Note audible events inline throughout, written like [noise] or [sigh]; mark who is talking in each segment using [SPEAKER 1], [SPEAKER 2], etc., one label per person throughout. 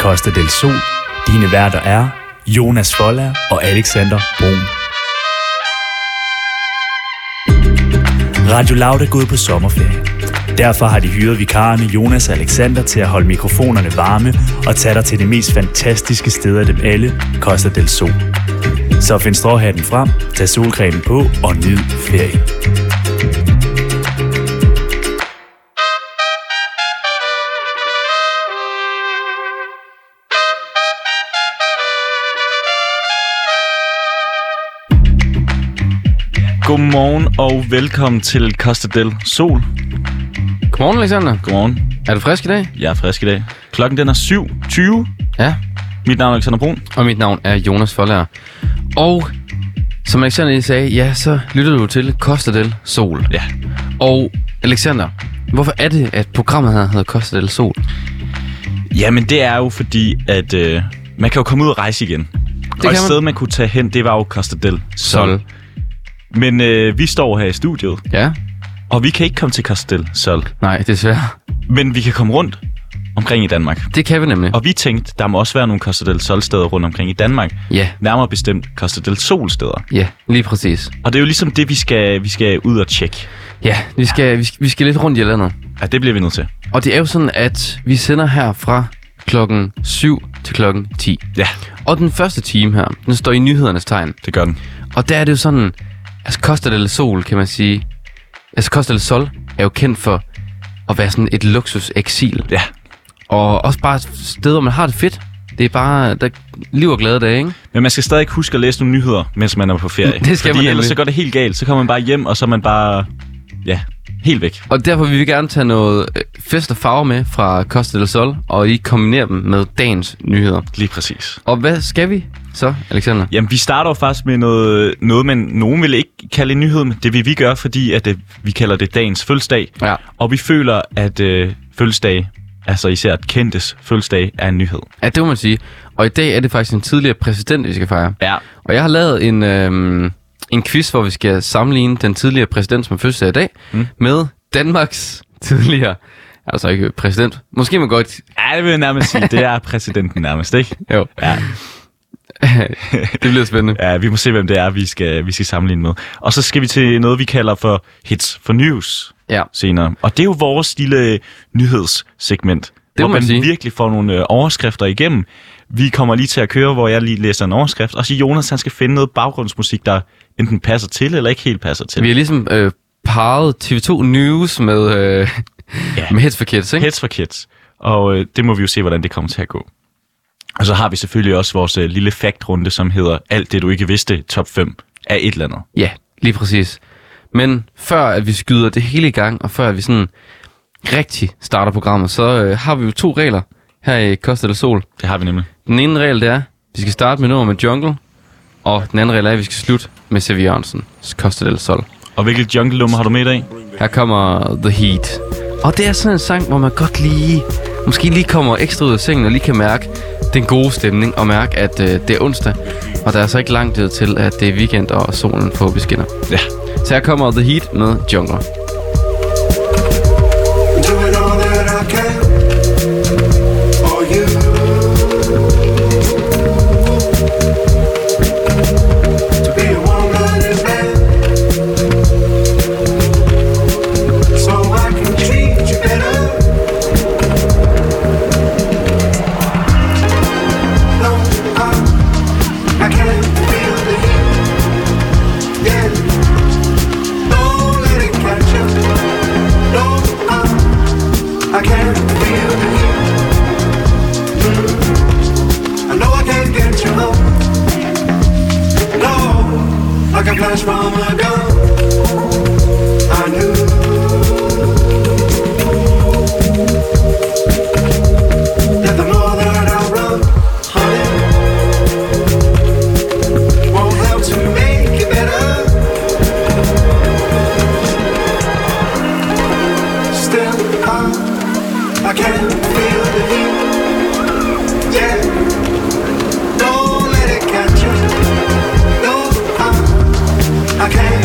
[SPEAKER 1] Costa del Sol. Dine værter er Jonas Folla og Alexander Brun. Radio Loud er gået på sommerferie. Derfor har de hyret vikarerne Jonas og Alexander til at holde mikrofonerne varme og tage dig til det mest fantastiske sted af dem alle, Costa del Sol. Så find stråhatten frem, tag solcremen på og nyd ferien.
[SPEAKER 2] Godmorgen og velkommen til Costa del Sol.
[SPEAKER 3] Godmorgen, Alexander.
[SPEAKER 2] Godmorgen.
[SPEAKER 3] Er du frisk i dag?
[SPEAKER 2] Jeg er frisk i dag. Klokken den er 7.20.
[SPEAKER 3] Ja.
[SPEAKER 2] Mit navn er Alexander Brun.
[SPEAKER 3] Og mit navn er Jonas Forlærer. Og som Alexander lige sagde, ja, så lytter du til Costa del Sol.
[SPEAKER 2] Ja.
[SPEAKER 3] Og Alexander, hvorfor er det, at programmet her hedder Costa del Sol?
[SPEAKER 2] Jamen det er jo fordi, at øh, man kan jo komme ud og rejse igen. Det og
[SPEAKER 3] kan
[SPEAKER 2] et
[SPEAKER 3] man.
[SPEAKER 2] sted, man kunne tage hen, det var jo Costa del Sol. Men øh, vi står her i studiet,
[SPEAKER 3] Ja.
[SPEAKER 2] og vi kan ikke komme til Costa del Sol.
[SPEAKER 3] Nej, desværre.
[SPEAKER 2] Men vi kan komme rundt omkring i Danmark.
[SPEAKER 3] Det kan vi nemlig.
[SPEAKER 2] Og vi tænkte, der må også være nogle Costa del Sol-steder rundt omkring i Danmark.
[SPEAKER 3] Ja,
[SPEAKER 2] Nærmere bestemt Costa del Sol-steder.
[SPEAKER 3] ja, lige præcis.
[SPEAKER 2] Og det er jo ligesom det, vi skal, vi skal ud og tjekke.
[SPEAKER 3] Ja, vi skal, vi skal, vi skal lidt rundt i landet.
[SPEAKER 2] Ja, det bliver vi nødt til.
[SPEAKER 3] Og det er jo sådan, at vi sender her fra klokken 7 til klokken 10.
[SPEAKER 2] Ja,
[SPEAKER 3] Og den første time her, den står i nyhedernes tegn.
[SPEAKER 2] det gør den.
[SPEAKER 3] Og der er det jo sådan, altså Costa del Sol, kan man sige. Altså Costa del Sol er jo kendt for at være sådan et luksus eksil.
[SPEAKER 2] Ja,
[SPEAKER 3] Og også bare et sted, hvor man har det fedt. Det er bare der er liv og glade dage, ikke?
[SPEAKER 2] Men man skal stadig huske at læse nogle nyheder, mens man er på ferie.
[SPEAKER 3] [laughs] Det skal
[SPEAKER 2] fordi
[SPEAKER 3] man
[SPEAKER 2] ellers
[SPEAKER 3] nemlig.
[SPEAKER 2] så går det helt galt. Så kommer man bare hjem, og så er man bare... Ja, helt væk.
[SPEAKER 3] Og derfor vil vi gerne tage noget øh, fest og farve med fra Costa del Sol, og I kombinerer dem med dagens nyheder.
[SPEAKER 2] Lige præcis.
[SPEAKER 3] Og hvad skal vi så, Alexander?
[SPEAKER 2] Jamen, vi starter jo faktisk med noget, noget man nogen vil ikke kalde en nyhed, men det vil vi gøre, fordi at, øh, vi kalder det dagens fødselsdag.
[SPEAKER 3] Ja.
[SPEAKER 2] Og vi føler, at øh, fødselsdag, altså især at kendtes fødselsdag, er en nyhed.
[SPEAKER 3] Ja, det må man sige. Og i dag er det faktisk en tidligere præsident, vi skal fejre.
[SPEAKER 2] Ja.
[SPEAKER 3] Og jeg har lavet en, øhm, en quiz, hvor vi skal sammenligne den tidligere præsident, som er fødselsdag i dag, mm. med Danmarks [laughs] tidligere, altså ikke præsident, måske man godt,
[SPEAKER 2] Ja, det vil jeg nærmest sige. Det er præsidenten nærmest, ikke?
[SPEAKER 3] jo,
[SPEAKER 2] Ja.
[SPEAKER 3] [laughs] det bliver spændende.
[SPEAKER 2] Ja, vi må se, hvem det er, vi skal, vi skal sammenligne med. Og så skal vi til noget, vi kalder for hits for news.
[SPEAKER 3] Ja,
[SPEAKER 2] senere. Og det er jo vores lille nyhedssegment,
[SPEAKER 3] må
[SPEAKER 2] hvor
[SPEAKER 3] man
[SPEAKER 2] man
[SPEAKER 3] sige.
[SPEAKER 2] virkelig får nogle øh, overskrifter igennem. Vi kommer lige til at køre, hvor jeg lige læser en overskrift, og så Jonas han skal finde noget baggrundsmusik, der enten passer til, eller ikke helt passer til.
[SPEAKER 3] vi har ligesom øh, parret TV2 News med, øh,
[SPEAKER 2] Ja.
[SPEAKER 3] ja. med Hits for Kids, ikke?
[SPEAKER 2] Heads for kids. Og øh, det må vi jo se, hvordan det kommer til at gå. Og så har vi selvfølgelig også vores øh, lille faktrunde, som hedder Alt det, du ikke vidste, top 5 af et eller andet.
[SPEAKER 3] Ja, lige præcis. Men før at vi skyder det hele i gang, og før at vi sådan rigtig starter programmet, så øh, har vi jo to regler her i Costa del Sol.
[SPEAKER 2] Det har vi nemlig.
[SPEAKER 3] Den ene regel det er, at vi skal starte med nummer med Jungle, og den anden regel er, at vi skal slutte med Sevi Jørgensens Costa del Sol.
[SPEAKER 2] Og hvilket jungle-nummer har du med i dag?
[SPEAKER 3] Her kommer The Heat. Og det er sådan en sang, hvor man godt lige, måske lige kommer ekstra ud af sengen og lige kan mærke den gode stemning og mærke, at øh, det er onsdag, og der er så ikke langt tid til, at det er weekend og solen forhåbentlig skinner.
[SPEAKER 2] Ja.
[SPEAKER 3] Så her kommer The Heat med Jungle.
[SPEAKER 4] Doing all that I can for you. To be a woman is bad. So I can treat you better. No, I, I can't feel the heat. Yeah. Don't let it catch you. No, I, I can't feel the heat. I know I can't get you home. No, like a flash from a gun. I knew. that the more that I run, honey, won't help to make it better. Still, I, I can feel the heat. Yeah, don't let it catch you. No, uh, I, I can't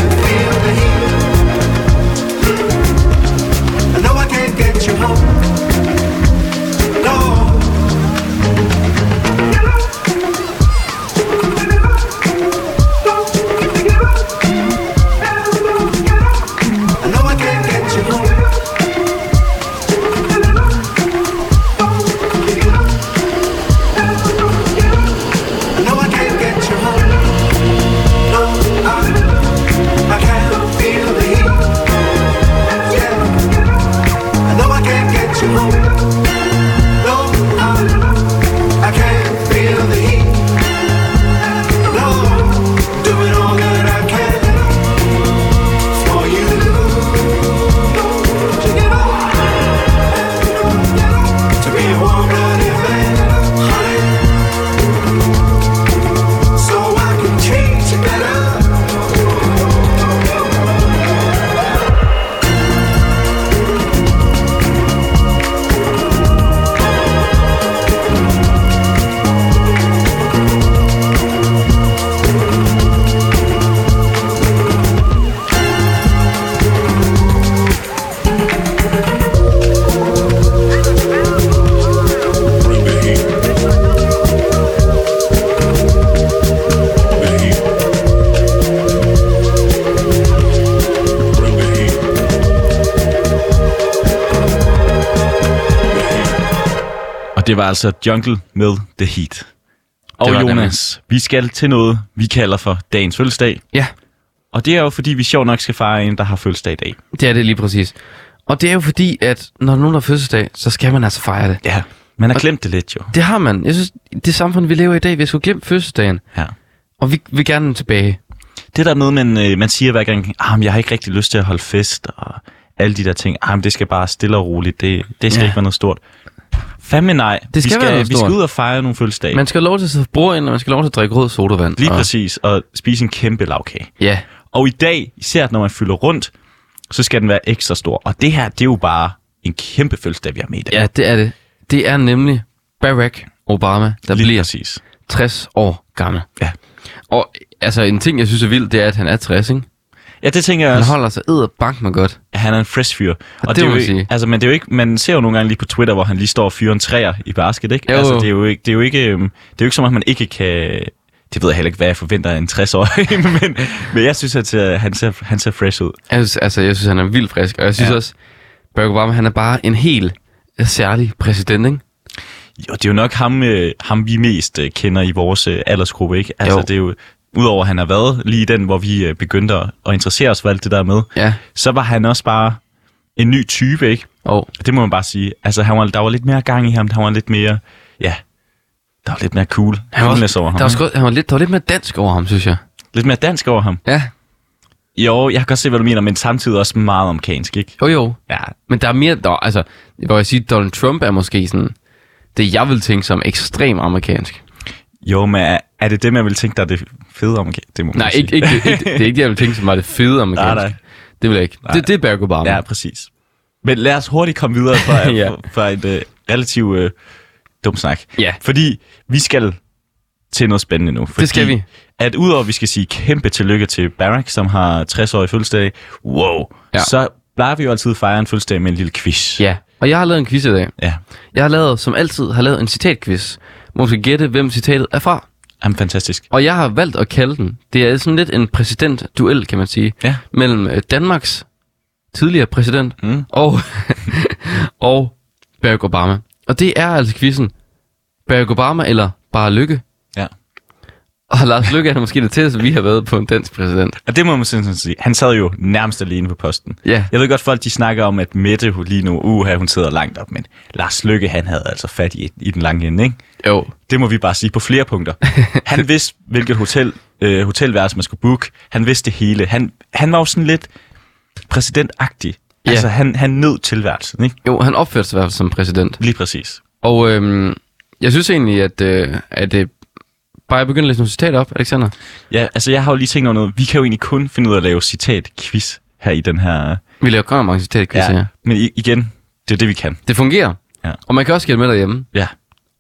[SPEAKER 2] Og det var altså Jungle med The Heat. Og
[SPEAKER 3] var det
[SPEAKER 2] Jonas, vi skal til noget, vi kalder for dagens fødselsdag.
[SPEAKER 3] Ja,
[SPEAKER 2] Og det er jo fordi, vi sjovt nok skal fejre en, der har fødselsdag i dag.
[SPEAKER 3] det er det lige præcis. Og det er jo fordi, at når nogen har fødselsdag, så skal man altså fejre det.
[SPEAKER 2] Ja. Man har glemt det lidt jo.
[SPEAKER 3] Det har man. Jeg synes, det samfund, vi lever i i dag, vi har sgu glemt fødselsdagen.
[SPEAKER 2] Ja.
[SPEAKER 3] Og vi vil gerne tilbage.
[SPEAKER 2] Det der med, man, øh, man siger hver gang, ah, men jeg har ikke rigtig lyst til at holde fest, og alle de der ting, ah, men det skal bare stille og roligt, det, det skal ja.
[SPEAKER 3] Ja.
[SPEAKER 2] ikke være noget stort. Fandme nej.
[SPEAKER 3] Det skal
[SPEAKER 2] vi skal,
[SPEAKER 3] være noget
[SPEAKER 2] vi skal
[SPEAKER 3] stort.
[SPEAKER 2] ud og fejre nogle fødselsdage.
[SPEAKER 3] Man skal have lov til at sidde for bordenden, og man skal have lov til at drikke rød sodavand.
[SPEAKER 2] Lige
[SPEAKER 3] og,
[SPEAKER 2] præcis, og spise en kæmpe lavkage.
[SPEAKER 3] Ja,
[SPEAKER 2] Og i dag, især når man fylder rundt, så skal den være ekstra stor. Og det her, det er jo bare en kæmpe fødselsdag, vi har med i dag.
[SPEAKER 3] ja, det er det. Det er nemlig Barack Obama, der
[SPEAKER 2] Lige
[SPEAKER 3] bliver
[SPEAKER 2] præcis.
[SPEAKER 3] 60 år gammel.
[SPEAKER 2] Ja.
[SPEAKER 3] Og altså, en ting, jeg synes er vildt, det er, at han er 60, ikke?
[SPEAKER 2] Ja, det tænker jeg
[SPEAKER 3] Han
[SPEAKER 2] også.
[SPEAKER 3] holder sig æder bank mig godt.
[SPEAKER 2] Han er en fresh fyr. Og,
[SPEAKER 3] det
[SPEAKER 2] er
[SPEAKER 3] må
[SPEAKER 2] jo
[SPEAKER 3] man
[SPEAKER 2] ikke-
[SPEAKER 3] sige.
[SPEAKER 2] Altså, men det er jo ikke, man ser jo nogle gange lige på Twitter, hvor han lige står og fyrer en træer i basket, ikke?
[SPEAKER 3] Jo,
[SPEAKER 2] altså,
[SPEAKER 3] jo.
[SPEAKER 2] det er jo ikke, det er jo ikke, øhm, det er jo ikke som, at man ikke kan... Det ved jeg heller ikke, hvad jeg forventer af en 60-årig, [laughs] men, men jeg synes, at øh, han ser, han ser fresh ud.
[SPEAKER 3] Jeg synes, altså, jeg synes, han er vildt frisk, og jeg synes
[SPEAKER 2] Ja.
[SPEAKER 3] ja. også, Barack Obama, han er bare en helt særlig præsident, ikke?
[SPEAKER 2] Jo, det er jo nok ham, øh, ham vi mest øh, kender i vores øh, aldersgruppe, ikke? Altså,
[SPEAKER 3] Jo.
[SPEAKER 2] det er jo... Udover at han har været lige i den, hvor vi øh, begyndte at, at interessere os for alt det der med,
[SPEAKER 3] Ja.
[SPEAKER 2] så var han også bare en ny type, ikke?
[SPEAKER 3] Og
[SPEAKER 2] Det må man bare sige. Altså, han var, der var lidt mere gang i ham. Der var lidt mere... Ja, der var lidt mere cool.
[SPEAKER 3] han var,
[SPEAKER 2] Coolness over ham.
[SPEAKER 3] der, var,
[SPEAKER 2] ikke?
[SPEAKER 3] sgu, han var lidt, der var lidt mere dansk over ham, synes jeg.
[SPEAKER 2] Lidt mere dansk over ham.
[SPEAKER 3] Ja,
[SPEAKER 2] Jo, jeg kan godt se, hvad du mener, men samtidig også meget amerikansk, ikke?
[SPEAKER 3] jo jo.
[SPEAKER 2] Ja,
[SPEAKER 3] Men der er mere, der, altså, hvor jeg siger, Donald Trump er måske sådan, det jeg vil tænke som ekstrem amerikansk.
[SPEAKER 2] jo, men er, er det det, man vil tænke, der er det fede amerikansk? Det må man
[SPEAKER 3] Nej,
[SPEAKER 2] sige.
[SPEAKER 3] ikke, ikke,
[SPEAKER 2] [laughs]
[SPEAKER 3] ikke, det er ikke det, jeg vil tænke som var det fede amerikansk.
[SPEAKER 2] Nej, nej.
[SPEAKER 3] Det vil jeg ikke. Det, det er Barack Obama.
[SPEAKER 2] Ja, præcis. Men lad os hurtigt komme videre fra,
[SPEAKER 3] [laughs] Ja.
[SPEAKER 2] ja. fra et øh, relativt øh, dumt snak.
[SPEAKER 3] Ja.
[SPEAKER 2] Fordi vi skal til noget spændende nu. Fordi
[SPEAKER 3] skal vi.
[SPEAKER 2] At udover at vi skal sige kæmpe tillykke til Barack, som har 60-årig fødselsdag, wow,
[SPEAKER 3] Ja.
[SPEAKER 2] ja. så plejer vi jo altid at fejre en fødselsdag med en lille quiz.
[SPEAKER 3] ja. Og jeg har lavet en quiz i dag.
[SPEAKER 2] ja.
[SPEAKER 3] Jeg har lavet, som altid, har lavet en citatquiz, hvor man skal gætte, hvem citatet er fra.
[SPEAKER 2] Jamen, fantastisk.
[SPEAKER 3] Og jeg har valgt at kalde den. Det er sådan lidt en præsidentduel, kan man sige.
[SPEAKER 2] Ja.
[SPEAKER 3] Mellem øh, Danmarks tidligere præsident mm. og, [laughs] og Barack Obama. Og det er altså quizzen. Barack Obama eller bare Lykke.
[SPEAKER 2] Ja.
[SPEAKER 3] Og Lars Lykke er måske det tætteste, vi har været på en dansk præsident.
[SPEAKER 2] Og det må man sådan sige. Han sad jo nærmest alene på posten.
[SPEAKER 3] Ja.
[SPEAKER 2] Jeg ved godt, folk de snakker om, at Mette hun lige nu, uha, hun sidder langt op, men Lars Lykke, han havde altså fat i, i den lange ende, ikke?
[SPEAKER 3] Jo.
[SPEAKER 2] Det må vi bare sige på flere
[SPEAKER 3] [laughs]
[SPEAKER 2] punkter. Han vidste, hvilket hotel, øh, hotelværelse man skulle booke. Han vidste det hele. Han, han var jo sådan lidt præsidentagtig. Ja.
[SPEAKER 3] Ja.
[SPEAKER 2] Altså, han, han nød tilværelsen, ikke?
[SPEAKER 3] Jo, han opførte sig i hvert fald som præsident.
[SPEAKER 2] Lige præcis.
[SPEAKER 3] Og øhm, jeg synes egentlig, at, øh, at øh, bare jeg begynder at læse nogle citater op, Alexander.
[SPEAKER 2] Ja, altså, jeg har jo lige tænkt over noget. Vi kan jo egentlig kun finde ud af at lave citat-quiz her i den her...
[SPEAKER 3] Vi laver godt nok mange citatquizzer ja. her.
[SPEAKER 2] Men i, igen, det er det, vi kan.
[SPEAKER 3] Det fungerer.
[SPEAKER 2] Ja.
[SPEAKER 3] Og man kan også gælde med derhjemme.
[SPEAKER 2] Ja,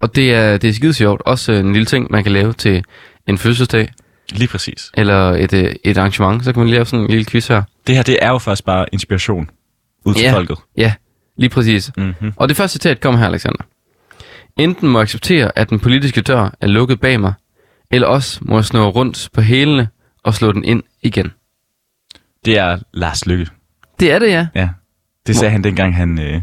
[SPEAKER 3] Og det er, det er skide sjovt. Også øh, en lille ting, man kan lave til en fødselsdag
[SPEAKER 2] lige præcis.
[SPEAKER 3] eller et, øh, et arrangement. Så kan man lige lave sådan en lille quiz her.
[SPEAKER 2] Det her, det er jo faktisk bare inspiration ud til
[SPEAKER 3] ja.
[SPEAKER 2] folket.
[SPEAKER 3] Ja, lige præcis.
[SPEAKER 2] Mhm.
[SPEAKER 3] Og det første citat kommer her, Alexander. Enten må jeg acceptere, at den politiske dør er lukket bag mig, eller også må jeg snurre rundt på hælene og slå den ind igen.
[SPEAKER 2] Det er Lars Lykke.
[SPEAKER 3] Det er det, ja.
[SPEAKER 2] Ja. Det sagde han dengang, han, øh,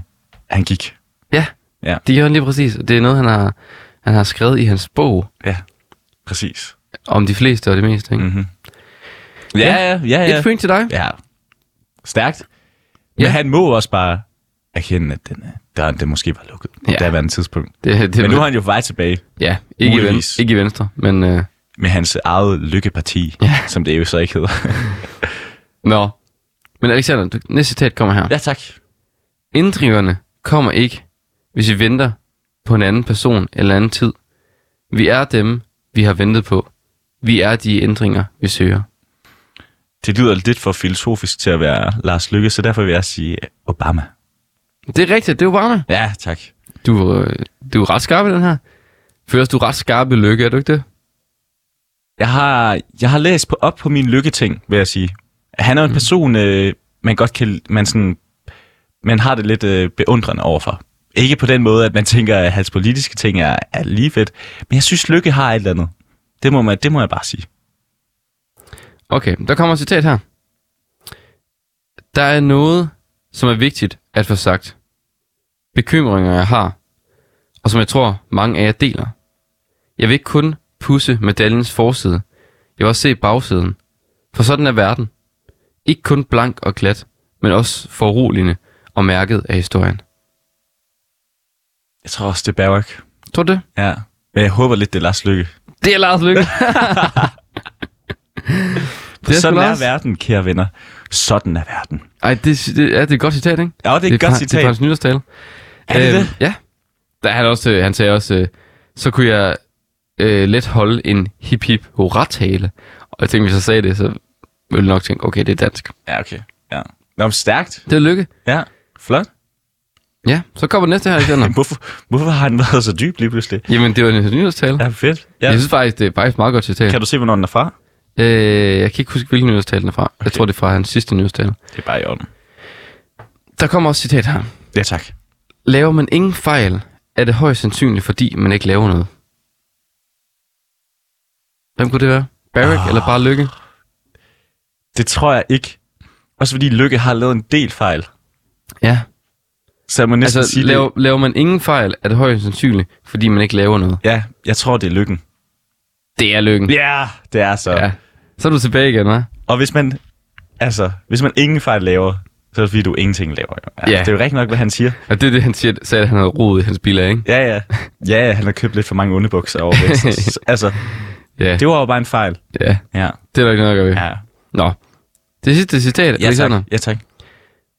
[SPEAKER 2] han gik.
[SPEAKER 3] Ja,
[SPEAKER 2] Ja.
[SPEAKER 3] det gjorde han lige præcis. Det er noget, han har, han har skrevet i hans bog
[SPEAKER 2] Ja, præcis.
[SPEAKER 3] om de fleste og det meste. Ikke? Mm.
[SPEAKER 2] Ja, ja, Mm-hmm. ja. ja.
[SPEAKER 3] Et point til dig.
[SPEAKER 2] Ja. Stærkt.
[SPEAKER 3] Ja.
[SPEAKER 2] Men ja. han må også bare erkende, at den, øh, døren den måske var lukket på
[SPEAKER 3] Ja.
[SPEAKER 2] ja. daværende tidspunkt.
[SPEAKER 3] Det, det,
[SPEAKER 2] Men nu er han jo på vej tilbage
[SPEAKER 3] Ja, ikke, i, ven,
[SPEAKER 2] Muligvis.
[SPEAKER 3] ikke i venstre, men... Øh,
[SPEAKER 2] med hans eget lykkeparti,
[SPEAKER 3] Ja.
[SPEAKER 2] ja. som det jo så ikke hedder.
[SPEAKER 3] Nå. Men Alexander, du, næste citat kommer her. Ja.
[SPEAKER 2] [laughs] ja, tak.
[SPEAKER 3] Inddriverne kommer ikke, hvis vi venter på en anden person eller anden tid. Vi er dem, vi har ventet på. Vi er de ændringer, vi søger.
[SPEAKER 2] Det lyder lidt for filosofisk til at være Lars Lykke, så derfor vil jeg sige øh, Obama.
[SPEAKER 3] Det er rigtigt, det er Obama.
[SPEAKER 2] Ja, tak.
[SPEAKER 3] Du, øh, du er ret skarp i den her. Først, du er ret skarp i lykke, er du ikke det?
[SPEAKER 2] Jeg har, jeg har læst på, op på min lykketing, vil jeg sige. Han er jo en person, øh, man godt kan... Man, sådan, man har det lidt øh, beundrende overfor. Ikke på den måde, at man tænker, at hans politiske ting er, er lige fedt. Men jeg synes, lykke har et eller andet. Det må, man, det må jeg bare sige.
[SPEAKER 3] Okay, der kommer et citat her. Der er noget, som er vigtigt at få sagt. Bekymringer, jeg har, og som jeg tror, mange af jer deler. Jeg vil ikke kun pusse medaljens forside, jeg vil også se bagsiden. For sådan er verden. Ikke kun blank og glat, men også foruroligende og mærket af historien.
[SPEAKER 2] Jeg tror også, det er Bergværk.
[SPEAKER 3] Tror du det?
[SPEAKER 2] Ja. Men jeg håber lidt, det er Lars Lykke.
[SPEAKER 3] [laughs] Det er Lars Lykke.
[SPEAKER 2] For
[SPEAKER 3] er sgu
[SPEAKER 2] sådan er
[SPEAKER 3] Lars.
[SPEAKER 2] verden, kære venner. Sådan er verden.
[SPEAKER 3] Ej, det, det, ja, det er et godt citat, ikke?
[SPEAKER 2] Ja, det er et godt
[SPEAKER 3] fra- Det er
[SPEAKER 2] citat.
[SPEAKER 3] fra hans nytårstale.
[SPEAKER 2] Er det det?
[SPEAKER 3] Øh, Ja. Der, er han, også, øh, han sagde også, øh, så kunne jeg øh, let holde en hip hip hurra-tale. Og jeg tænkte, hvis jeg sagde det, så ville jeg nok tænke, okay, det er dansk.
[SPEAKER 2] Ja, okay. Ja. Nå, men stærkt.
[SPEAKER 3] Det er lykke.
[SPEAKER 2] Ja, flot.
[SPEAKER 3] Ja, så kommer den næste her,
[SPEAKER 2] [laughs]
[SPEAKER 3] Alexander.
[SPEAKER 2] Men hvorfor, hvorfor har han været så dyb lige pludselig?
[SPEAKER 3] Jamen, det var en nytårstale. Ja.
[SPEAKER 2] Ja, fedt. Ja.
[SPEAKER 3] Jeg synes faktisk, det er faktisk et meget godt citat.
[SPEAKER 2] Kan du se, hvornår den er fra?
[SPEAKER 3] Øh, jeg kan ikke huske, hvilken nytårstale den er fra. Okay. Jeg
[SPEAKER 2] Okay.
[SPEAKER 3] tror, det er fra hans sidste nytårstale.
[SPEAKER 2] Det er bare i orden.
[SPEAKER 3] Der kommer også et citat her.
[SPEAKER 2] Ja, tak.
[SPEAKER 3] Laver man ingen fejl, er det højst sandsynligt, fordi man ikke laver noget. Hvem kunne det være? Barrack oh. eller bare Lykke?
[SPEAKER 2] Det tror jeg ikke. Også fordi Lykke har lavet en del fejl.
[SPEAKER 3] Ja,
[SPEAKER 2] Så jeg må næsten
[SPEAKER 3] altså
[SPEAKER 2] sige
[SPEAKER 3] laver,
[SPEAKER 2] det.
[SPEAKER 3] laver man ingen fejl, er det højst sandsynligt, fordi man ikke laver noget.
[SPEAKER 2] Ja, jeg tror, det er Lykken.
[SPEAKER 3] Det er Lykken.
[SPEAKER 2] Ja, det er så.
[SPEAKER 3] Ja. Så er du tilbage igen, hva'?
[SPEAKER 2] Og hvis man, altså, hvis man ingen fejl laver, så er det fordi, du ingenting laver. jo. Ja,
[SPEAKER 3] Ja.
[SPEAKER 2] Det er jo rigtigt nok, hvad han siger.
[SPEAKER 3] Og det er det, han siger, sagde, at han havde rodet i hans biler, ikke?
[SPEAKER 2] Ja, ja. Ja, ja, han har købt lidt for mange underbukser
[SPEAKER 3] [laughs]
[SPEAKER 2] over Venstre. Så- Altså,
[SPEAKER 3] Ja,
[SPEAKER 2] det var jo bare en fejl.
[SPEAKER 3] ja.
[SPEAKER 2] Ja,
[SPEAKER 3] det er der ikke noget at gøre ved. Ja.
[SPEAKER 2] ja.
[SPEAKER 3] Nå, det sidste citat,
[SPEAKER 2] Ja,
[SPEAKER 3] Alexander.
[SPEAKER 2] tak. Ja, tak.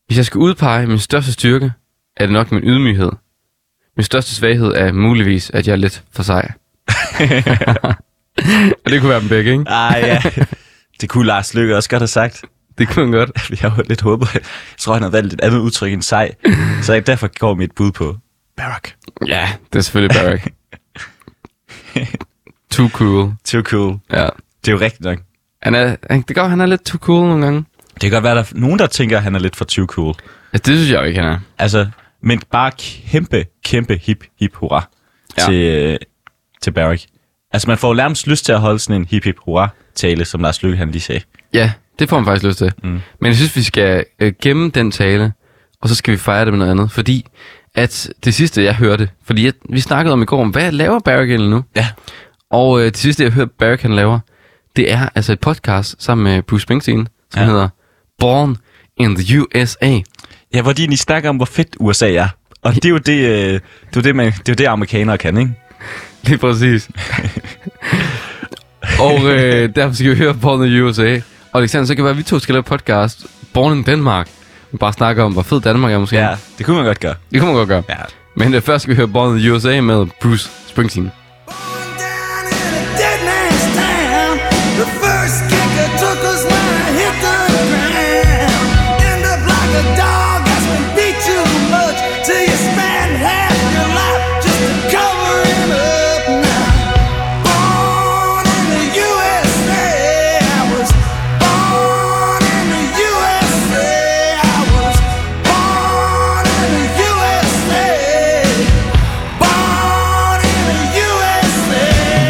[SPEAKER 3] Hvis jeg skal udpege min største styrke, er det nok min ydmyghed. Min største svaghed er muligvis, at jeg er lidt for [laughs] sej. Og det kunne være dem begge, ikke?
[SPEAKER 2] Ah, ja. [laughs] Det kunne Lars Løkke også godt have sagt.
[SPEAKER 3] Det kunne man godt.
[SPEAKER 2] Jeg har jo lidt håbet. Jeg tror, han har valgt et andet udtryk end sej. Så jeg- derfor går mit bud på Barak.
[SPEAKER 3] Ja, det er selvfølgelig [laughs] Barrack. too cool.
[SPEAKER 2] Too cool.
[SPEAKER 3] Ja.
[SPEAKER 2] Det er jo rigtigt nok.
[SPEAKER 3] Han er, han, det går, han er lidt too cool nogle gange.
[SPEAKER 2] Det kan godt være, at der er nogen, der tænker, at han er lidt for too cool.
[SPEAKER 3] Altså, det synes jeg jo ikke, han er.
[SPEAKER 2] Altså, men bare kæmpe, kæmpe hip, hip, hurra
[SPEAKER 3] Ja.
[SPEAKER 2] ja. til, øh, til Barrick. Altså, man får jo nærmest lyst til at holde sådan en hip, hip, hurra tale, som Lars Løkke han lige sagde.
[SPEAKER 3] Ja, det får man faktisk lyst til. Mm. Men jeg synes, vi skal øh, gemme den tale, og så skal vi fejre det med noget andet. Fordi at det sidste, jeg hørte, fordi jeg, vi snakkede om i går, om, hvad laver Barrack egentlig nu?
[SPEAKER 2] Ja.
[SPEAKER 3] Og øh, det sidste, jeg hørte Barrack han laver, det er altså et podcast sammen med Bruce Springsteen, som ja.
[SPEAKER 2] Ja.
[SPEAKER 3] hedder Born in the USA.
[SPEAKER 2] Ja, hvor de egentlig snakker om, hvor fedt USA er. Og det er jo det, øh, det, er jo det, man, det, er jo det amerikanere kan, ikke?
[SPEAKER 3] Lige
[SPEAKER 2] [laughs]
[SPEAKER 3] præcis. og øh, derfor skal vi høre Born in the USA. Og Alexander, så kan det være, at vi to skal lave podcast Born in Denmark. Vi bare snakker om, hvor fed Danmark er måske.
[SPEAKER 2] Ja, det kunne man godt gøre.
[SPEAKER 3] Det kunne man godt gøre.
[SPEAKER 2] Ja.
[SPEAKER 3] Men øh, først skal vi høre Born in the USA med Bruce Springsteen.
[SPEAKER 4] Down in a dead man's town. The first kick I took was when I hit the ground. End up like a dog that's been beat too much till you spend half your life just to cover him up now. Born in the USA, I was born in the USA. I was born in the USA. Born in the USA.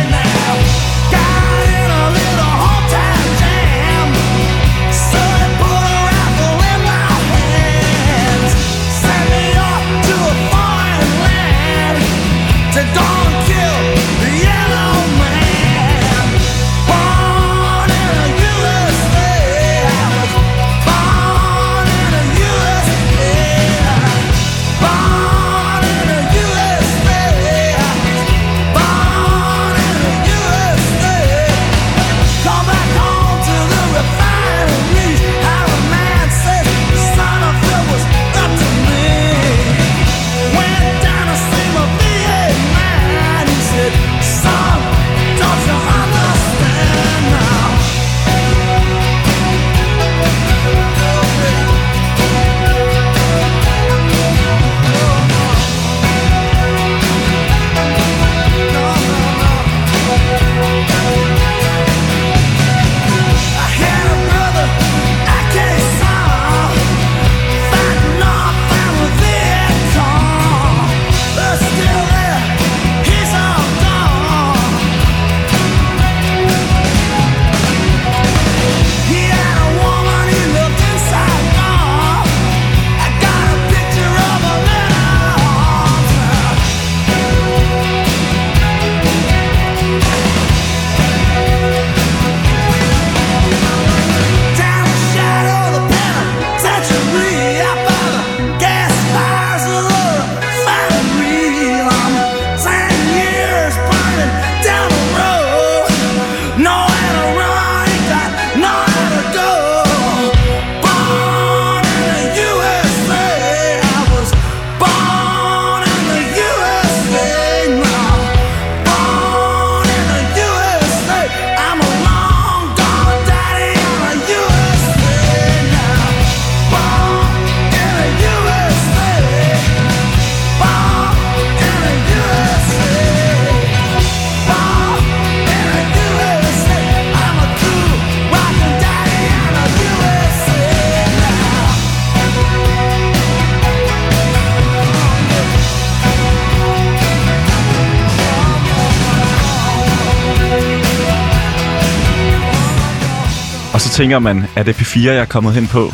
[SPEAKER 2] så tænker man, er det P4, jeg er kommet [laughs] hen på?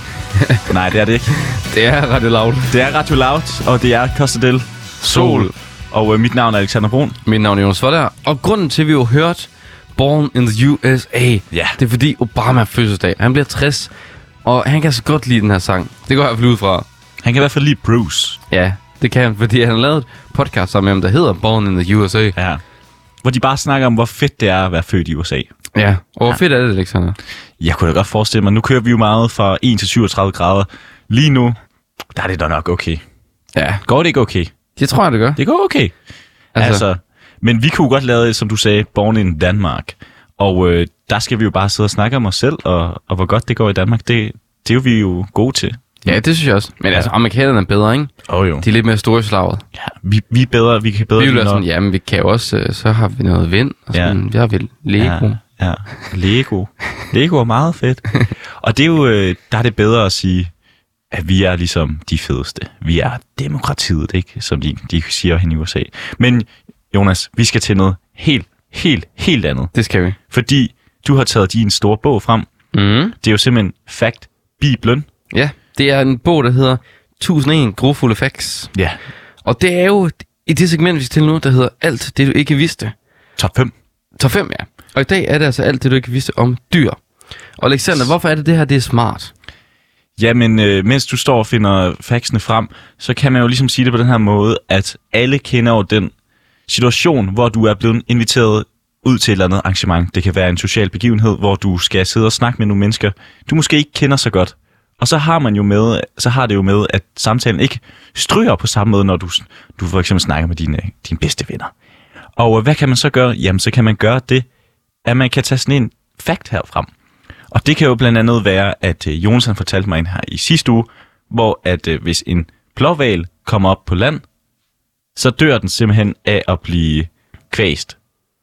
[SPEAKER 2] Nej, det er det ikke.
[SPEAKER 3] Det er Radio Loud.
[SPEAKER 2] Det er Radio Loud, og det er Costa del Sol. Og øh, mit navn er Alexander Brun.
[SPEAKER 3] Mit navn er Jonas Voller, og grunden til, at vi jo hørte Born in the USA,
[SPEAKER 2] Ja.
[SPEAKER 3] det er fordi Obama har fødselsdag. Han bliver 60, og han kan så godt lide den her sang. Det går jeg i hvert fald ud fra.
[SPEAKER 2] Han kan i hvert fald lide Bruce.
[SPEAKER 3] Ja, det kan han, fordi han har lavet et podcast sammen med ham, der hedder Born in the USA.
[SPEAKER 2] Ja. Hvor de bare snakker om, hvor fedt det er at være født i USA.
[SPEAKER 3] Ja, og hvor fedt er det, Alexander?
[SPEAKER 2] Jeg kunne da godt forestille mig, nu kører vi jo meget fra 1 til 37 grader. Lige nu, der er det da nok okay.
[SPEAKER 3] Ja,
[SPEAKER 2] Går det ikke okay?
[SPEAKER 3] det tror jeg, det gør.
[SPEAKER 2] Det går okay.
[SPEAKER 3] Altså-
[SPEAKER 2] Altså. altså men vi kunne godt lave, som du sagde, Born in Danmark. Og øh, der skal vi jo bare sidde og snakke om os selv, og, og hvor godt det går i Danmark. Det, det er jo vi jo gode til.
[SPEAKER 3] Ja, det synes jeg også. Men altså, amerikanerne er bedre, ikke?
[SPEAKER 2] Åh oh, jo.
[SPEAKER 3] De er lidt mere store i slaget.
[SPEAKER 2] Ja, vi, vi er bedre, vi kan bedre
[SPEAKER 3] Vi vil
[SPEAKER 2] lide
[SPEAKER 3] være
[SPEAKER 2] noget-
[SPEAKER 3] sådan, jamen vi kan jo også, øh, så har vi noget vind, og
[SPEAKER 2] Ja.
[SPEAKER 3] sådan, ja. vi har vel Lego. Ja.
[SPEAKER 2] Ja, ja. Lego. Lego er meget fedt. Og det er jo, øh, der er det bedre at sige, at vi er ligesom de fedeste. Vi er demokratiet, ikke? Som de, de siger hen i USA. Men Jonas, vi skal til noget helt, helt, helt andet.
[SPEAKER 3] Det skal vi.
[SPEAKER 2] Fordi du har taget din store bog frem.
[SPEAKER 3] Mm.
[SPEAKER 2] Det er jo simpelthen Fact Bibelen.
[SPEAKER 3] Ja, det er en bog, der hedder 1001 Grofulde Facts.
[SPEAKER 2] Ja.
[SPEAKER 3] Og det er jo i det segment, vi skal til nu, der hedder alt det, du ikke vidste.
[SPEAKER 2] Top 5.
[SPEAKER 3] Top 5, ja. Og i dag er det altså alt det, du ikke vidste om dyr. Og Alexander, hvorfor er det det her, det er smart?
[SPEAKER 2] Jamen, øh, mens du står og finder faxene frem, så kan man jo ligesom sige det på den her måde, at alle kender jo den situation, hvor du er blevet inviteret ud til et eller andet arrangement. Det kan være en social begivenhed, hvor du skal sidde og snakke med nogle mennesker, du måske ikke kender så godt. Og så har man jo med, så har det jo med, at samtalen ikke stryger på samme måde, når du, du for eksempel snakker med dine, dine bedste venner. Og øh, hvad kan man så gøre? Jamen, så kan man gøre det, at man kan tage sådan en fakt her frem. Og det kan jo blandt andet være, at øh, Jonas han fortalte mig en her i sidste uge, hvor at øh, hvis en blåval kommer op på land, så dør den simpelthen af at blive kvæst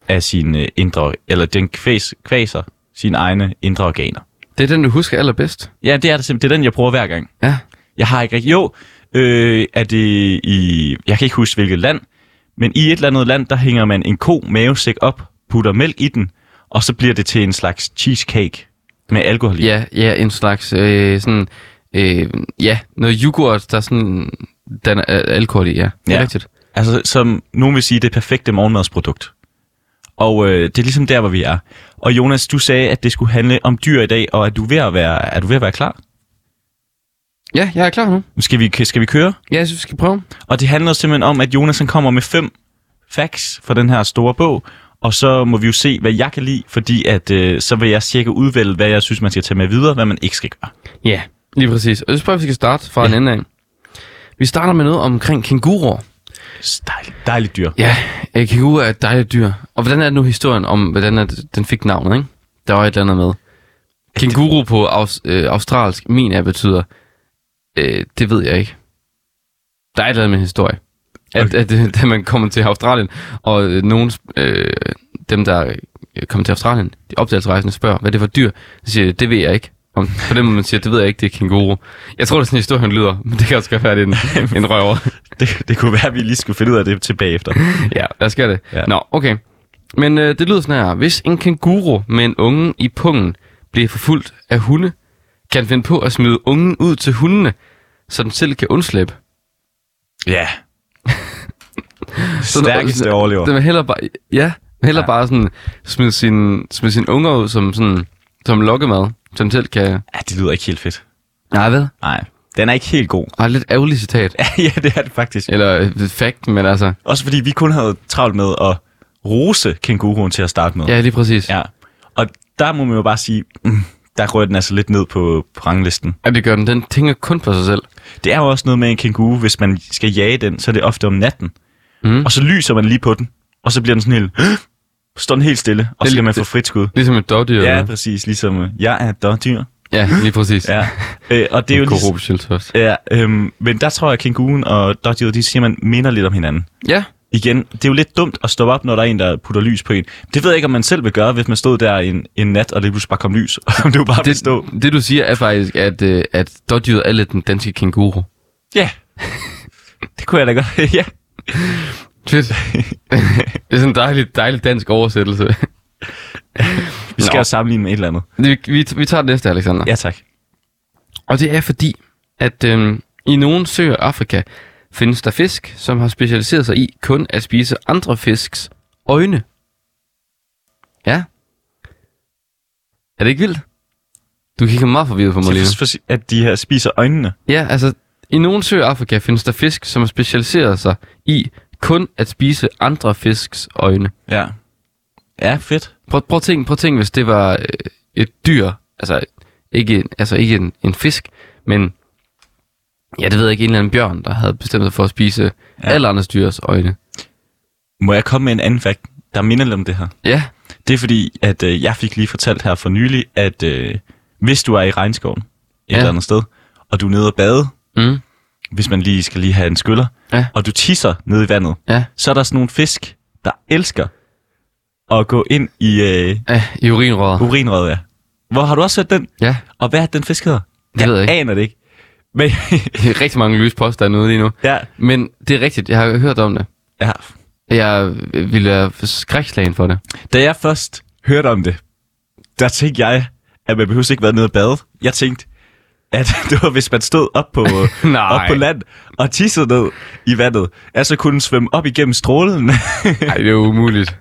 [SPEAKER 2] af sine øh, indre, eller den kvæs, kvæser sine egne indre organer.
[SPEAKER 3] Det er den, du husker allerbedst.
[SPEAKER 2] Ja, det er det simpelthen. Det er den, jeg bruger hver gang.
[SPEAKER 3] Ja.
[SPEAKER 2] Jeg har ikke rigtig... Jo, øh, er det i... Jeg kan ikke huske, hvilket land. Men i et eller andet land, der hænger man en ko mavesæk op, putter mælk i den, og så bliver det til en slags cheesecake med alkohol i.
[SPEAKER 3] Ja, ja, en slags øh, sådan, øh, ja, noget yoghurt, der sådan, den er alkohol i, ja. Det er
[SPEAKER 2] Ja.
[SPEAKER 3] rigtigt.
[SPEAKER 2] Altså, som nogen vil sige, det perfekte morgenmadsprodukt. Og øh, det er ligesom der, hvor vi er. Og Jonas, du sagde, at det skulle handle om dyr i dag, og er du ved at være, er du ved at være klar?
[SPEAKER 3] Ja, jeg er klar nu.
[SPEAKER 2] Skal vi, skal vi køre?
[SPEAKER 3] Ja, jeg synes, vi skal prøve.
[SPEAKER 2] Og det handler simpelthen om, at Jonas han kommer med fem facts fra den her store bog, og så må vi jo se, hvad jeg kan lide, fordi at, øh, så vil jeg cirka udvælge, hvad jeg synes, man skal tage med videre, hvad man ikke skal gøre.
[SPEAKER 3] Ja, lige præcis. Og så prøver vi skal starte fra ja. en ende af. Vi starter med noget omkring kænguruer.
[SPEAKER 2] Dejligt, dejligt dyr.
[SPEAKER 3] Ja, øh, kænguruer er et dejligt dyr. Og hvordan er nu historien om, hvordan er det, den fik navnet, ikke? Der var et eller andet med. Kænguru på aus, øh, australsk, min er betyder, øh, det ved jeg ikke. Der er et eller andet med historie. At, okay. at, at, at man kommer til Australien, og øh, nogen, øh, dem der øh, kommer til Australien, de opdagelsesrejsende spørger, hvad det var dyr. Så siger de, det ved jeg ikke. Om, på den måde, man siger, det ved jeg ikke, det er kænguru. Jeg tror, det er sådan, historien lyder, men det kan også godt være, det er en, en røver.
[SPEAKER 2] Det, det kunne være, at vi lige skulle finde ud af det tilbage efter.
[SPEAKER 3] Ja, der skal det. Ja.
[SPEAKER 2] Ja.
[SPEAKER 3] Nå, okay. Men øh, det lyder sådan her. Hvis en kænguru med en unge i pungen bliver forfulgt af hunde, kan den finde på at smide ungen ud til hundene, så den selv kan undslippe.
[SPEAKER 2] Ja. [laughs] Stærkeste overlever.
[SPEAKER 3] Den vil hellere bare, ja, hellere ja.
[SPEAKER 2] Ja.
[SPEAKER 3] bare sådan smide sin, smide sin unger ud som sådan, som lokkemad, som den selv kan...
[SPEAKER 2] Ja, det lyder ikke helt fedt.
[SPEAKER 3] Nej, hvad?
[SPEAKER 2] Nej, den er ikke helt god.
[SPEAKER 3] Ej, lidt ærgerligt citat.
[SPEAKER 2] [laughs] ja, det er det faktisk.
[SPEAKER 3] Eller øh, fact, men altså...
[SPEAKER 2] Også fordi vi kun havde travlt med at rose kænguruen til at starte med.
[SPEAKER 3] Ja, lige præcis.
[SPEAKER 2] ja. Og der må man jo bare sige, mm, der rører den altså lidt ned på, på ranglisten.
[SPEAKER 3] Ja, det gør den. Den tænker kun på sig selv.
[SPEAKER 2] Det er jo også noget med en kænguru, hvis man skal jage den, så er det ofte om natten.
[SPEAKER 3] Mm.
[SPEAKER 2] Mm. Og så lyser man lige på den, og så bliver den sådan helt... Så står den helt stille, og
[SPEAKER 3] Det er
[SPEAKER 2] så skal
[SPEAKER 3] lidt-
[SPEAKER 2] man få frit skud.
[SPEAKER 3] Ligesom et dårdyr.
[SPEAKER 2] Ja,
[SPEAKER 3] eller-
[SPEAKER 2] præcis. Ligesom, øh, jeg er et dårdyr.
[SPEAKER 3] ja, lige præcis. [laughs]
[SPEAKER 2] Ja. Øh, og det er jo ligesom,
[SPEAKER 3] Korruptionsfest.
[SPEAKER 2] ja, øhm, men der tror jeg, at kænguruen og dårdyret, de siger, man minder lidt om hinanden.
[SPEAKER 3] Ja,
[SPEAKER 2] igen, det er jo lidt dumt at stoppe op, når der er en, der putter lys på en. Det ved jeg ikke, om man selv vil gøre, hvis man stod der en, en nat, og det pludselig bare kom lys, [laughs] og om det jo bare ville stå.
[SPEAKER 3] det, det du siger er faktisk, at, øh, at dårdyret er lidt den danske kænguru.
[SPEAKER 2] Ja. [laughs] det kunne jeg da godt. [laughs] ja.
[SPEAKER 3] [laughs] Fedt. det er sådan en dejlig, dejlig dansk oversættelse.
[SPEAKER 2] Vi skal
[SPEAKER 3] Nå.
[SPEAKER 2] Nå. sammenligne med et eller andet.
[SPEAKER 3] Vi, vi, vi tager det næste, Alexander.
[SPEAKER 2] Ja, tak.
[SPEAKER 3] Og det er fordi, at øhm, i nogle søer i Afrika findes der fisk, som har specialiseret sig i kun at spise andre fisks øjne. Ja. Er det ikke vildt? Du kigger meget forvirret på mig lige nu.
[SPEAKER 2] Så for, for, at de her spiser øjnene.
[SPEAKER 3] Ja, altså, i nogle søer i Afrika findes der fisk, som har specialiseret sig i kun at spise andre fisks øjne.
[SPEAKER 2] Ja. Ja, fedt.
[SPEAKER 3] Prøv, prøv, at tænke, prøv at tænke, hvis det var øh, et dyr, altså ikke, en- altså ikke en, en fisk, men ja, det ved jeg ikke, en eller anden bjørn, der havde bestemt sig for at spise ja. alle andres dyrs øjne.
[SPEAKER 2] Må jeg komme med en anden fakt, der minder lidt om det her?
[SPEAKER 3] Ja,
[SPEAKER 2] Det er fordi, at øh, jeg fik lige fortalt her for nylig, at øh, hvis du er i regnskoven et
[SPEAKER 3] Ja.
[SPEAKER 2] ja. eller andet sted, og du er nede og bade,
[SPEAKER 3] mm,
[SPEAKER 2] hvis man lige skal lige have en skyller,
[SPEAKER 3] Ja.
[SPEAKER 2] og du tisser nede i vandet,
[SPEAKER 3] ja,
[SPEAKER 2] så er der sådan nogle fisk, der elsker at gå ind i øh,
[SPEAKER 3] ja, i urinrøret.
[SPEAKER 2] urinrøret. Ja. Hvor har du også set den?
[SPEAKER 3] Ja, [laughs]
[SPEAKER 2] Og hvad er den fisk hedder?
[SPEAKER 3] Det ved jeg ikke.
[SPEAKER 2] aner det ikke. Men [laughs]
[SPEAKER 3] det er rigtig mange lyse påstande ude lige nu.
[SPEAKER 2] ja,
[SPEAKER 3] Men det er rigtigt, jeg har hørt om det.
[SPEAKER 2] ja.
[SPEAKER 3] Jeg ville være skrækslagen for det.
[SPEAKER 2] Da jeg først hørte om det, der tænkte jeg, at man behøver ikke være nede og bade. Jeg tænkte, at [laughs] det var, hvis man stod op
[SPEAKER 3] [laughs]
[SPEAKER 2] på,
[SPEAKER 3] Nej.
[SPEAKER 2] op på land og tissede ned i vandet, at så kunne den svømme op igennem strålen. [laughs]
[SPEAKER 3] Nej, det er umuligt.